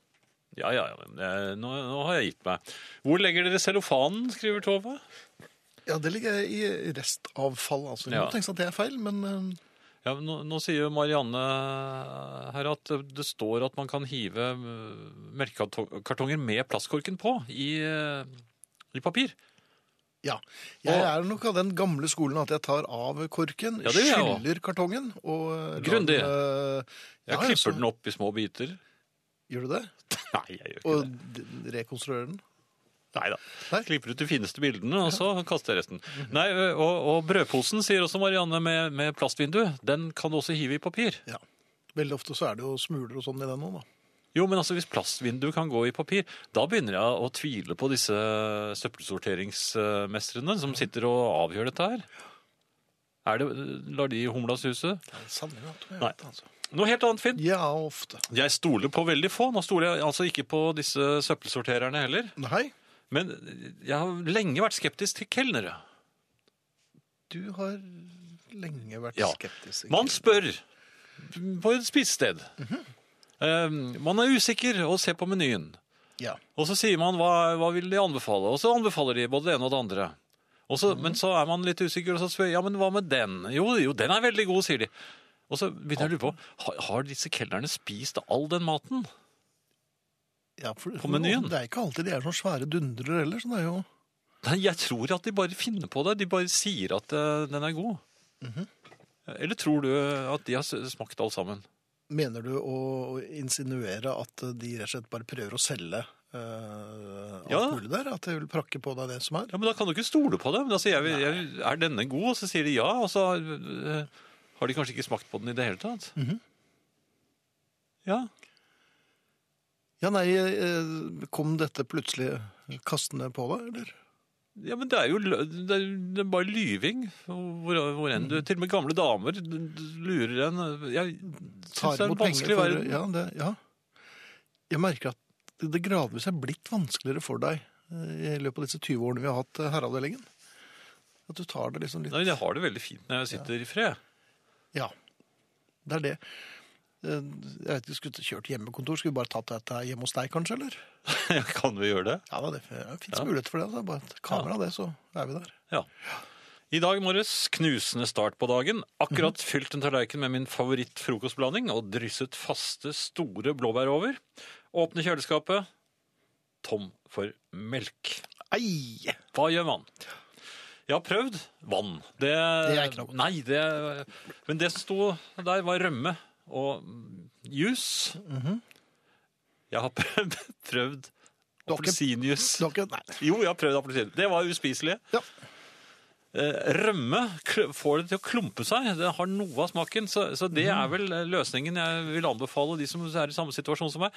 B: Ja, ja, ja. men, eh, Nå, nå har jeg gitt meg. Hvor legger dere cellofanen, skriver Tove.
A: Ja, det ligger i restavfall, altså. Ja.
B: Ja.
A: Nå tenkes at det er feil, men eh,
B: Ja, men nå, nå sier Marianne her at det står at man kan hive eh, melkekartonger med plastkorken på i, eh, i papir.
A: ja. Jeg
B: Og-
A: er nok av den gamle skolen at jeg tar av korken,
B: Ja, det gjør jeg også.
A: skyller kartongen og eh, lar
B: Grundig.
A: den, eh,
B: Jeg
A: ja,
B: klipper
A: så-
B: den opp i små biter.
A: Gjør du det?
B: Nei, jeg gjør ikke det.
A: Og d- rekonstruerer den?
B: Nei da.
A: Nei.
B: Klipper ut de fineste bildene, og så kaster jeg resten. Nei, og, og brødposen, sier også Marianne, med, med plastvindu, den kan du også hive i papir.
A: Ja. Veldig ofte så er det jo smuler og sånn i den nå, da.
B: Jo, men altså, hvis plastvindu kan gå i papir, da begynner jeg å tvile på disse søppelsorteringsmestrene som sitter og avgjør dette her. Er det, lar de humla suse?
A: Jeg savner det, Tom, jeg
B: Nei.
A: vet det, altså.
B: Noe helt annet, Finn.
A: Ja, ofte.
B: Jeg stoler på veldig få. Nå stoler jeg altså ikke på disse søppelsortererne heller.
A: Nei.
B: Men jeg har lenge vært skeptisk til kelnere.
A: Du har lenge vært
B: Ja.
A: skeptisk. Sigrid.
B: Man spør på et spisested. Eh, man er usikker og ser på menyen.
A: Ja.
B: Og så sier man hva, hva vil de anbefale, og så anbefaler de både det ene og det andre. Og så, Men så er man litt usikker, og så spør jeg, ja, men hva med den? Jo, jo, den er veldig god, sier de. Og så begynner jeg å lure på, har, har disse kelnerne spist all den maten?
A: ja for,
B: På menyen.
A: Det er ikke alltid de er sånne svære dundrer heller, så det er jo
B: Nei, jeg tror at de bare finner på det, de bare sier at eh, den er god. Eller tror du at de har s- smakt alt sammen?
A: Mener du å insinuere at de rett og slett bare prøver å selge eh, alt
B: Ja.
A: mulig der? At de vil prakke på deg det som er?
B: Ja, men Da kan du ikke stole på dem. Da sier jeg, jeg, er denne god? Og så sier de ja, og så øh, har de kanskje ikke smakt på den i det hele tatt. Ja,
A: Ja, nei, eh, kom dette plutselig kastende på deg, eller?
B: ja, men det er jo lø- det er, det er bare lyving. Hvor, hvor enn du Til og med gamle damer d- d- lurer en Jeg syns det er en vanskelig verden.
A: ja, det, ja. Jeg merker at det gradvis er blitt vanskeligere for deg eh, i løpet av disse 20 årene vi har hatt eh, herreavdelingen. At du tar det liksom litt
B: Nei, jeg har det veldig fint når jeg sitter i fred.
A: Ja, det er det. Eh, Jeg vet ikke, skulle kjørt hjemmekontor, skulle vi bare tatt dette hjemme hos deg kanskje, eller?
B: kan vi gjøre det?
A: Ja, da, det finnes mulighet for det, altså. bare et kamera av det, så er vi der.
B: Ja. I dag morges, knusende start på dagen, akkurat
A: Mhm.
B: fylt en tallerken med min favorittfrokostblanding og drysset faste, store blåbær over. Åpne kjøleskapet, tom for melk.
A: Ei!
B: Hva gjør man? Jeg har prøvd vann. Det,
A: Det er ikke noe godt.
B: Nei, det, men det som sto der var rømme og jus.
A: Mhm.
B: Jeg har prøvd, prøvd
A: Du har ikke-
B: appelsinjuice.
A: Du har ikke, nei.
B: Jo, jeg har prøvd appelsin. Det var uspiselig.
A: Ja.
B: eh, rømme kl- får det til å klumpe seg. Det har noe av smaken. Så, så det
A: Mm.
B: er vel eh, løsningen jeg vil anbefale de som er i samme situasjon som meg.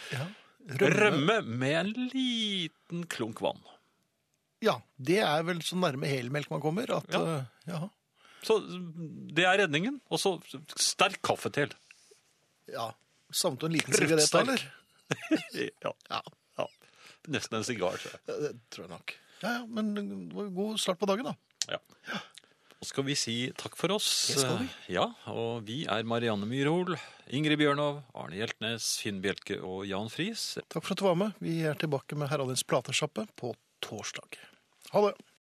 B: Rømme, med en liten klunk vann.
A: Ja, det er vel så nærme helmelk man kommer at
B: Ja.
A: eh, ja.
B: Så mm, det er redningen. Og så sterk kaffe til.
A: ja. Samt en liten
B: Rødt
A: sigarett,
B: sterk.
A: eller?
B: Ja.
A: Ja,
B: ja. Nesten en sigar, tror jeg.
A: det tror jeg nok. Ja, ja, men det var jo god start på dagen, da.
B: Nå skal vi si takk for oss.
A: Det skal vi.
B: Ja, og vi er Marianne Myrhol, Ingrid Bjørnov, Arne Hjeltnes, Finn Bjelke og Jan Friis.
A: Takk for at du var med. Vi er tilbake med Herralins platesjappe på torsdag. Ha det!